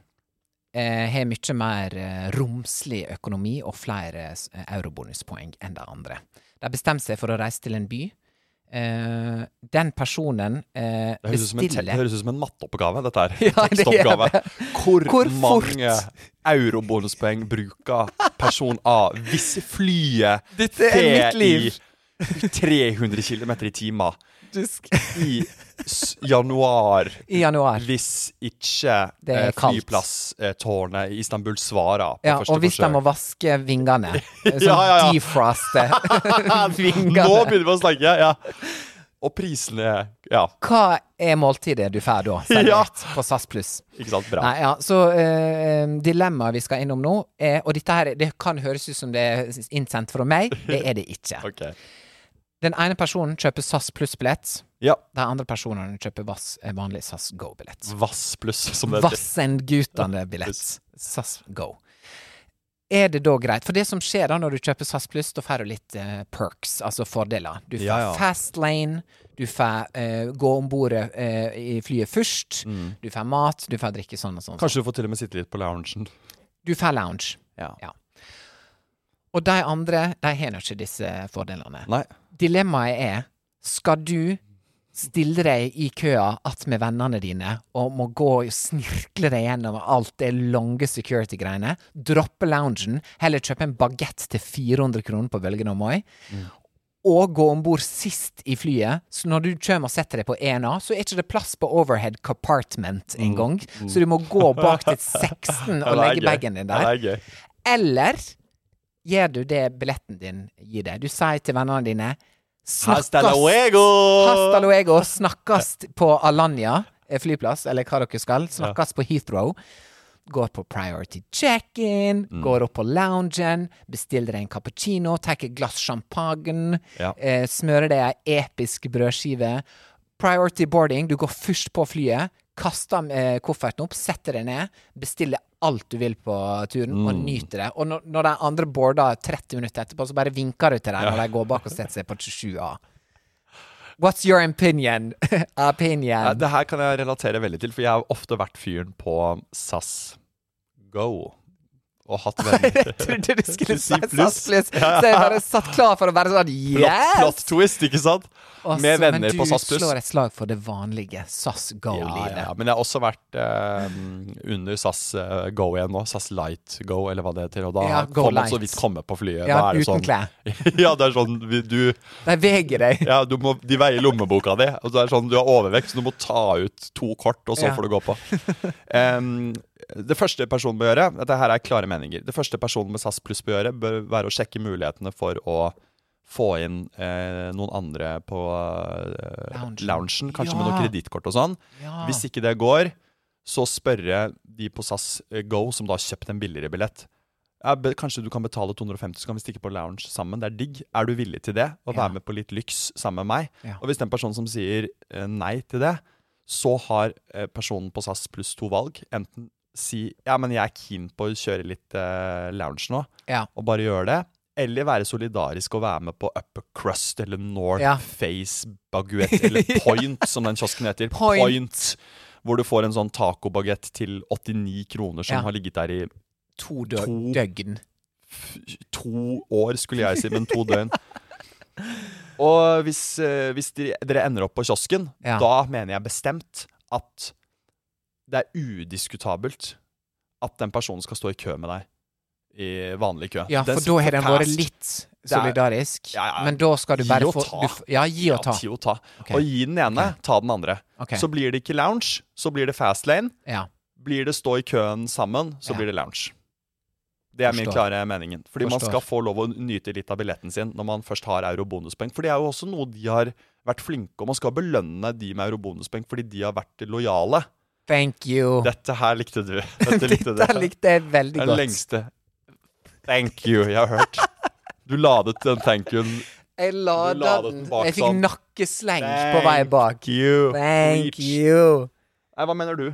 Speaker 2: har mye mer eh, romslig økonomi og flere s- eh, eurobonuspoeng enn de andre. De bestemmer seg for å reise til en by. Eh, Den personen eh,
Speaker 1: Det høres, ut som en, te- det
Speaker 2: bestiller
Speaker 1: høres ut som en matteoppgave, dette her.
Speaker 2: <laughs> Ja, det gjør
Speaker 1: Tekstoppgave.
Speaker 2: det.
Speaker 1: Hvor,
Speaker 2: Hvor fort?
Speaker 1: mange eurobonuspoeng bruker person A hvis flyet
Speaker 2: Dette er mitt liv.
Speaker 1: i 300 km i timen
Speaker 2: Dusk.
Speaker 1: i s- januar?
Speaker 2: I januar.
Speaker 1: Hvis ikke
Speaker 2: Det er
Speaker 1: eh,
Speaker 2: kaldt.
Speaker 1: flyplasstårnet i Istanbul svarer på
Speaker 2: Ja,
Speaker 1: første
Speaker 2: og hvis de
Speaker 1: forsøk.
Speaker 2: må vaske
Speaker 1: <laughs>
Speaker 2: vingene, eh, sånn
Speaker 1: Ja, ja, ja.
Speaker 2: defroste
Speaker 1: <laughs>
Speaker 2: <laughs> vingene
Speaker 1: <laughs> Nå begynner vi å snakke! Ja. Og prisene Ja,
Speaker 2: Hva er måltidet du får da,
Speaker 1: <laughs> Ja.
Speaker 2: servert på SAS pluss?
Speaker 1: ikke sant? Bra.
Speaker 2: Nei, ja, så eh, dilemmaet vi skal innom nå, er, og dette her det kan høres ut som det er innsendt fra meg, det er det ikke.
Speaker 1: <laughs> Ok.
Speaker 2: Den ene personen kjøper SAS pluss-billett,
Speaker 1: Ja.
Speaker 2: de andre personene kjøper Vass, eh, vanlig SAS Go-billett.
Speaker 1: Vass pluss, som det heter.
Speaker 2: Vassendgutane-billett. SAS Go. Er det da greit? For det som skjer da når du kjøper SAS Pluss, da får du litt eh, perks, altså fordeler. Du får
Speaker 1: Ja, ja.
Speaker 2: fast lane, du får eh, gå om bord i flyet først, du får mat, du får drikke sånn og sånn.
Speaker 1: Mm. Kanskje du får til og med sitte litt på loungen.
Speaker 2: Du får lounge.
Speaker 1: Ja.
Speaker 2: Ja. Og de andre, de har nå ikke disse fordelene.
Speaker 1: Nei.
Speaker 2: Dilemmaet er Skal du stille deg i køa att med vennene dine og må gå og snirkle deg gjennom alt det lange security-greiene, droppe loungen, heller kjøpe en bagett til 400 kroner på Bølgen og Moi, og gå om bord sist i flyet, så når du kommer og setter deg på 1A, så er ikke det plass på overhead compartment engang, så du må gå bak til 16
Speaker 1: Ja, det
Speaker 2: og
Speaker 1: er
Speaker 2: legge
Speaker 1: gøy.
Speaker 2: bagen
Speaker 1: Ja,
Speaker 2: din
Speaker 1: det
Speaker 2: der.
Speaker 1: er gøy.
Speaker 2: Eller gjør du det billetten din gir deg? Du sier til vennene dine
Speaker 1: Hasta
Speaker 2: Snakkes
Speaker 1: luego!
Speaker 2: Hasta luego! Snakkes på Alanya eh, flyplass, eller hva dere skal. Snakkes på Heathrow. Går på priority check-in, går opp på loungen, bestiller deg en cappuccino, tar et glass champagne,
Speaker 1: Ja.
Speaker 2: eh, smører deg ei episk brødskive. Priority boarding, du går først på flyet, kaster eh, kofferten opp, setter deg ned, bestiller alt du vil på turen, og nyter det. Og når, når de andre boarder 30 minutter etterpå, så bare vinker du til dem når de går bak og setter seg på 27A. What's your opinion? <laughs>
Speaker 1: Nei,
Speaker 2: opinion.
Speaker 1: det her kan jeg relatere veldig til, for jeg har ofte vært fyren på SAS Go. og hatt venner.
Speaker 2: <laughs> Jeg trodde du skulle
Speaker 1: Du sier
Speaker 2: si
Speaker 1: pluss.
Speaker 2: SAS-pluss, så jeg bare satt klar for å være sånn
Speaker 1: Plott, plott
Speaker 2: Yes!
Speaker 1: twist, ikke sant?
Speaker 2: Altså,
Speaker 1: Med
Speaker 2: men
Speaker 1: venner på SAS
Speaker 2: Du
Speaker 1: pluss.
Speaker 2: slår et slag for det vanlige SAS
Speaker 1: Ja,
Speaker 2: Go-livet.
Speaker 1: ja, men jeg har også vært eh, under SAS eh, Go igjen nå. SAS Light Go, eller hva det heter. Og da
Speaker 2: Ja, Go
Speaker 1: får man så
Speaker 2: Light.
Speaker 1: vidt komme på flyet.
Speaker 2: Ja,
Speaker 1: da er det
Speaker 2: uten
Speaker 1: sånn,
Speaker 2: klær.
Speaker 1: <laughs> ja, det er sånn vi- du,
Speaker 2: De veger deg.
Speaker 1: <laughs> ja, du må, De veier lommeboka di. Og det er sånn, du har overvekt, så du må ta ut to kort, og så
Speaker 2: Ja.
Speaker 1: får du gå på.
Speaker 2: <laughs>
Speaker 1: Em, det første personen bør gjøre Dette her er klare meninger. Det første personen med SAS pluss bør gjøre, bør være å sjekke mulighetene for å få inn eh, noen andre på eh,
Speaker 2: Loungen.
Speaker 1: loungen, kanskje med
Speaker 2: Ja.
Speaker 1: noen kredittkort og sånn.
Speaker 2: Ja.
Speaker 1: Hvis ikke det går, så spørre de på SAS eh, Go, som da har kjøpt en billigere billett. Ja, be- kanskje du kan betale 250, så kan vi stikke på lounge sammen. Det er digg. Er du villig til det? Å
Speaker 2: Ja.
Speaker 1: være med på litt lyks sammen med meg?
Speaker 2: Ja.
Speaker 1: Og hvis den personen som sier eh, nei til det, så har eh, personen på SAS pluss to valg. Enten si ja, men jeg er keen på å kjøre litt eh, lounge nå,
Speaker 2: Ja.
Speaker 1: og bare gjøre det. Eller være solidarisk og være med på Upper Crust eller North
Speaker 2: Ja.
Speaker 1: Face Baguette
Speaker 2: <laughs>
Speaker 1: eller Point, som den kiosken heter.
Speaker 2: Point.
Speaker 1: Hvor du får en sånn tacobagett til 89 kroner som
Speaker 2: Ja.
Speaker 1: har ligget der i
Speaker 2: To, dø
Speaker 1: To.
Speaker 2: døgn.
Speaker 1: to år, skulle jeg si, men to døgn. Og hvis, eh, hvis dere, dere ender opp på kiosken,
Speaker 2: Ja.
Speaker 1: da mener jeg bestemt at det er udiskutabelt at den personen skal stå i kø med deg. I vanlig kø.
Speaker 2: Ja, for da har den vært litt solidarisk.
Speaker 1: Ja, ja.
Speaker 2: Men da skal du bare
Speaker 1: Gi og
Speaker 2: få
Speaker 1: ta.
Speaker 2: du f- Ja, gi og ta.
Speaker 1: Gi og, ta.
Speaker 2: Ok.
Speaker 1: og gi den ene, ta den andre.
Speaker 2: Ok.
Speaker 1: Så blir det ikke lounge, så blir det fast lane.
Speaker 2: Ja.
Speaker 1: Blir det stå i køen sammen, så
Speaker 2: Ja.
Speaker 1: blir det lounge. Det er min
Speaker 2: Forstår.
Speaker 1: klare meningen. Fordi man
Speaker 2: Forstår.
Speaker 1: skal få lov å nyte litt av billetten sin når man først har eurobonuspoeng. For det er jo også noe de har vært flinke om. Man skal belønne de med eurobonuspoeng fordi de har vært lojale.
Speaker 2: Thank you.
Speaker 1: Dette her likte
Speaker 2: <laughs>
Speaker 1: du. Dette likte du.
Speaker 2: Dette likte jeg veldig
Speaker 1: Den
Speaker 2: godt.
Speaker 1: lengste thank you jeg har hørt. Du ladet den thank you-en.
Speaker 2: Jeg la
Speaker 1: Du la
Speaker 2: den
Speaker 1: den bak
Speaker 2: Jeg fikk
Speaker 1: sånn.
Speaker 2: nakkesleng på vei bak.
Speaker 1: you.
Speaker 2: Thank
Speaker 1: Reach.
Speaker 2: you.
Speaker 1: Nei, hva mener du?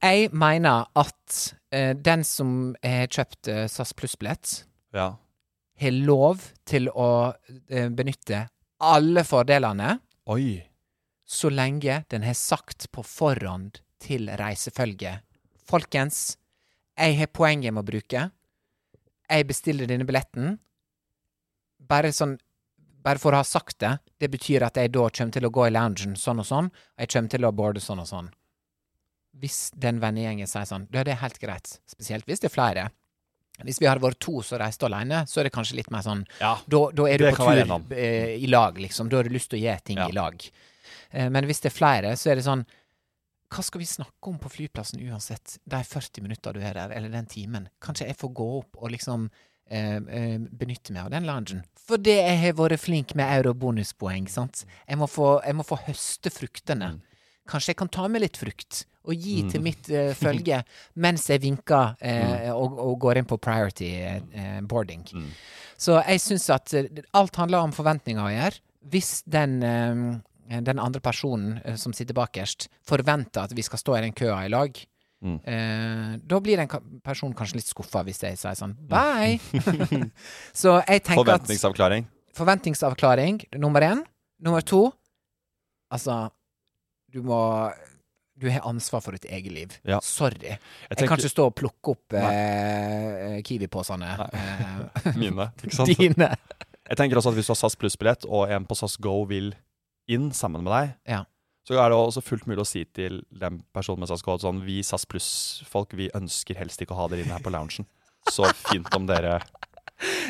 Speaker 2: Jeg mener at eh, den som har kjøpt eh, SAS Pluss-billett,
Speaker 1: Ja.
Speaker 2: har lov til å eh, benytte alle fordelene
Speaker 1: Oi.
Speaker 2: så lenge den har sagt på forhånd til reisefølget Folkens, jeg har poeng jeg må bruke. Jeg bestiller denne billetten. Bare sånn Bare for å ha sagt det, det betyr at jeg da kommer til å gå i loungen sånn og sånn, og jeg kommer til å boarde sånn og sånn. Hvis den vennegjengen sier sånn, da er det helt greit. Spesielt hvis det er flere. Hvis vi hadde vært to som reiste alene, så er det kanskje litt mer sånn
Speaker 1: Ja.
Speaker 2: da, da er du
Speaker 1: Det
Speaker 2: på
Speaker 1: kan være en
Speaker 2: tur
Speaker 1: annen.
Speaker 2: eh, i lag, liksom. Da har du lyst til å gjøre ting
Speaker 1: Ja.
Speaker 2: i lag. Eh, men hvis det er flere, så er det sånn Hva skal vi snakke om på flyplassen uansett? De 40 minutta du er der, eller den timen. Kanskje jeg får gå opp og liksom eh, eh, benytte meg av den loungen. Fordi jeg har vært flink med eurobonuspoeng, sant. Jeg må få, jeg må få høste fruktene. Kanskje jeg kan ta med litt frukt og gi til mitt eh, følge mens jeg vinker eh, og, og går inn på priority eh, boarding. Så jeg syns at eh, alt handler om forventninger å gjøre. Hvis den, eh, den andre personen eh, som sitter bakerst, forventer at vi skal stå i den køa i lag,
Speaker 1: Mm.
Speaker 2: eh, da blir den ka- personen kanskje litt skuffa hvis jeg sier sånn
Speaker 1: Mm. <laughs>
Speaker 2: bye. Så jeg tenker at
Speaker 1: Forventningsavklaring.
Speaker 2: forventningsavklaring, nummer én. Nummer to Altså, du må Du har ansvar for ditt eget liv.
Speaker 1: Ja.
Speaker 2: Sorry. Jeg,
Speaker 1: tenker-
Speaker 2: kan ikke stå og plukke opp eh, Kiwi-posene.
Speaker 1: <laughs>
Speaker 2: Eh, <laughs>
Speaker 1: Mine. Ikke sant?
Speaker 2: dine.
Speaker 1: Jeg tenker også at hvis du har SAS pluss-billett, og en på SAS Go vil inn sammen med deg,
Speaker 2: Ja.
Speaker 1: så er det også fullt mulig å si til den personen med SAS Go at sånn, vi SAS pluss-folk, vi ønsker helst ikke å ha dere inne her på loungen. Så fint om dere
Speaker 2: <laughs>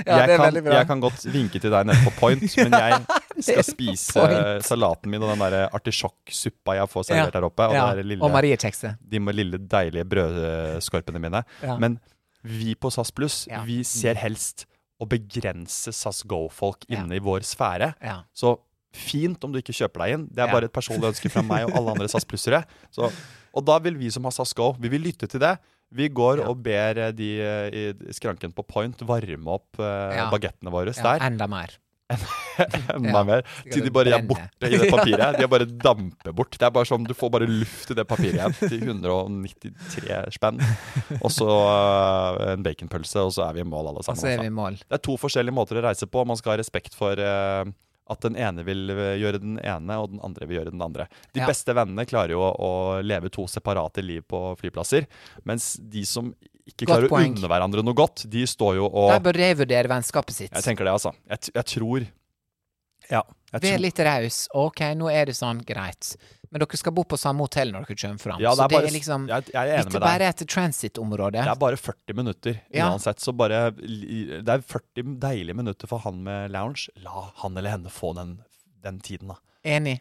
Speaker 2: Ja, det
Speaker 1: jeg,
Speaker 2: er
Speaker 1: kan,
Speaker 2: veldig bra.
Speaker 1: jeg kan godt vinke til deg nede på Point,
Speaker 2: <laughs>
Speaker 1: men jeg skal
Speaker 2: på
Speaker 1: spise
Speaker 2: Point.
Speaker 1: salaten min og den der artisjokksuppa jeg får servert her oppe, og,
Speaker 2: Ja.
Speaker 1: det der
Speaker 2: og
Speaker 1: lille,
Speaker 2: Marie Kjekse.
Speaker 1: de med lille deilige brødskorpene mine.
Speaker 2: Ja.
Speaker 1: Men vi på SAS pluss,
Speaker 2: Ja.
Speaker 1: vi ser helst å begrense SAS Go-folk
Speaker 2: Ja.
Speaker 1: inne i vår sfære.
Speaker 2: Ja.
Speaker 1: Så fint om du ikke kjøper deg inn. Det er
Speaker 2: Ja.
Speaker 1: bare et personlig ønske fra meg og alle
Speaker 2: <laughs>
Speaker 1: andre SAS Plussere. Så- Og da vil vi som har SAS Go, vi vil lytte til det. Vi går og ber eh, de eh, i skranken på Point varme opp eh,
Speaker 2: Ja.
Speaker 1: bagettene våre
Speaker 2: Ja,
Speaker 1: der.
Speaker 2: enda mer.
Speaker 1: <laughs> Enda
Speaker 2: ja.
Speaker 1: mer.
Speaker 2: Skal
Speaker 1: Til de
Speaker 2: det
Speaker 1: bare er
Speaker 2: brenne.
Speaker 1: borte i det papiret. De er bare damper bort. Det er bare sånn, Du får bare luft i det papiret igjen til 193 spenn. Og så eh, en baconpølse, og så er vi i mål alle
Speaker 2: Og
Speaker 1: sammen.
Speaker 2: så er
Speaker 1: altså.
Speaker 2: vi i mål.
Speaker 1: Det er to forskjellige måter å reise på. Man skal ha respekt for eh, at den ene vil eh, gjøre den ene, og den andre vil gjøre den andre. De
Speaker 2: Ja.
Speaker 1: beste vennene klarer jo å, å leve to separate liv på flyplasser, mens de som ikke
Speaker 2: Godt
Speaker 1: klarer å
Speaker 2: poeng.
Speaker 1: unne hverandre noe godt. De står jo
Speaker 2: De
Speaker 1: og
Speaker 2: bør revurdere vennskapet sitt.
Speaker 1: Jeg tenker det, altså. Jeg, t- jeg tror Ja. Jeg
Speaker 2: Vær
Speaker 1: tror,
Speaker 2: litt raus. OK, nå er det sånn, greit. Men dere skal bo på samme hotell når dere kommer fram.
Speaker 1: ja, det
Speaker 2: så
Speaker 1: er bare,
Speaker 2: det er liksom
Speaker 1: jeg, jeg er enig
Speaker 2: Litt
Speaker 1: med deg.
Speaker 2: bare etter transit-området.
Speaker 1: Det er bare 40 minutter
Speaker 2: Ja.
Speaker 1: uansett. Så bare li- Det er 40 deilige minutter for han med lounge. La han eller henne få den, den tiden, da.
Speaker 2: Enig.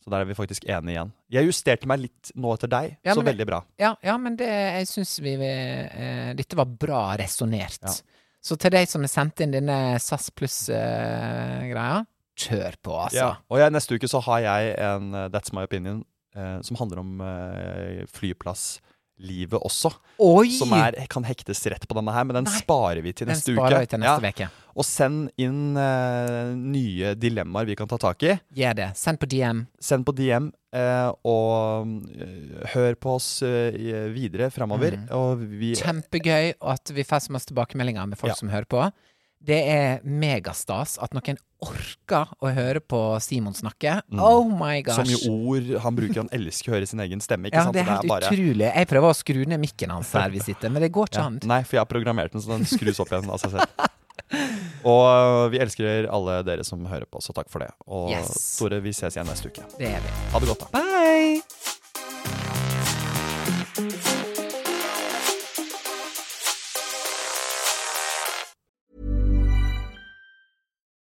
Speaker 1: Så der er vi faktisk enige igjen. Jeg justerte meg litt nå etter deg,
Speaker 2: Ja,
Speaker 1: så
Speaker 2: men det-
Speaker 1: veldig bra.
Speaker 2: Ja, ja men det, jeg syns vi eh, Dette var bra resonnert.
Speaker 1: Ja.
Speaker 2: Så til deg som har sendt inn denne SAS pluss-greia, kjør på, altså.
Speaker 1: Ja. Og jeg, neste uke så har jeg en eh, That's My Opinion eh, som handler om eh, flyplasslivet også.
Speaker 2: Oi!
Speaker 1: Som er, kan hektes rett på denne her, men den
Speaker 2: Nei.
Speaker 1: sparer vi til
Speaker 2: Den
Speaker 1: neste
Speaker 2: sparer
Speaker 1: uke.
Speaker 2: vi til neste
Speaker 1: Ja.
Speaker 2: uke.
Speaker 1: Og send inn eh, nye dilemmaer vi kan ta tak i.
Speaker 2: Gjør det. Send på DM.
Speaker 1: Send på DM, eh, og eh, hør på oss eh, i- videre framover.
Speaker 2: Mm.
Speaker 1: Og vi
Speaker 2: Kjempegøy at vi får så masse tilbakemeldinger med folk
Speaker 1: Ja.
Speaker 2: som hører på. Det er megastas at noen orker å høre på Simon snakke.
Speaker 1: Mm.
Speaker 2: Oh my gosh!
Speaker 1: Så mye ord han bruker. Han elsker å høre sin egen stemme. Ikke
Speaker 2: Ja,
Speaker 1: sant?
Speaker 2: det er
Speaker 1: Og
Speaker 2: helt utrolig. Jeg prøver å skru ned mikken hans her vi sitter, men det går ikke
Speaker 1: Ja.
Speaker 2: an.
Speaker 1: Nei, for jeg har programmert den, så den skrus opp igjen av seg
Speaker 2: <laughs>
Speaker 1: selv. Og eh, vi elsker alle dere som hører på, så takk for det. Og
Speaker 2: Yes.
Speaker 1: Tore, vi ses igjen neste uke.
Speaker 2: Det er vi.
Speaker 1: Ha det godt, da.
Speaker 2: Bye!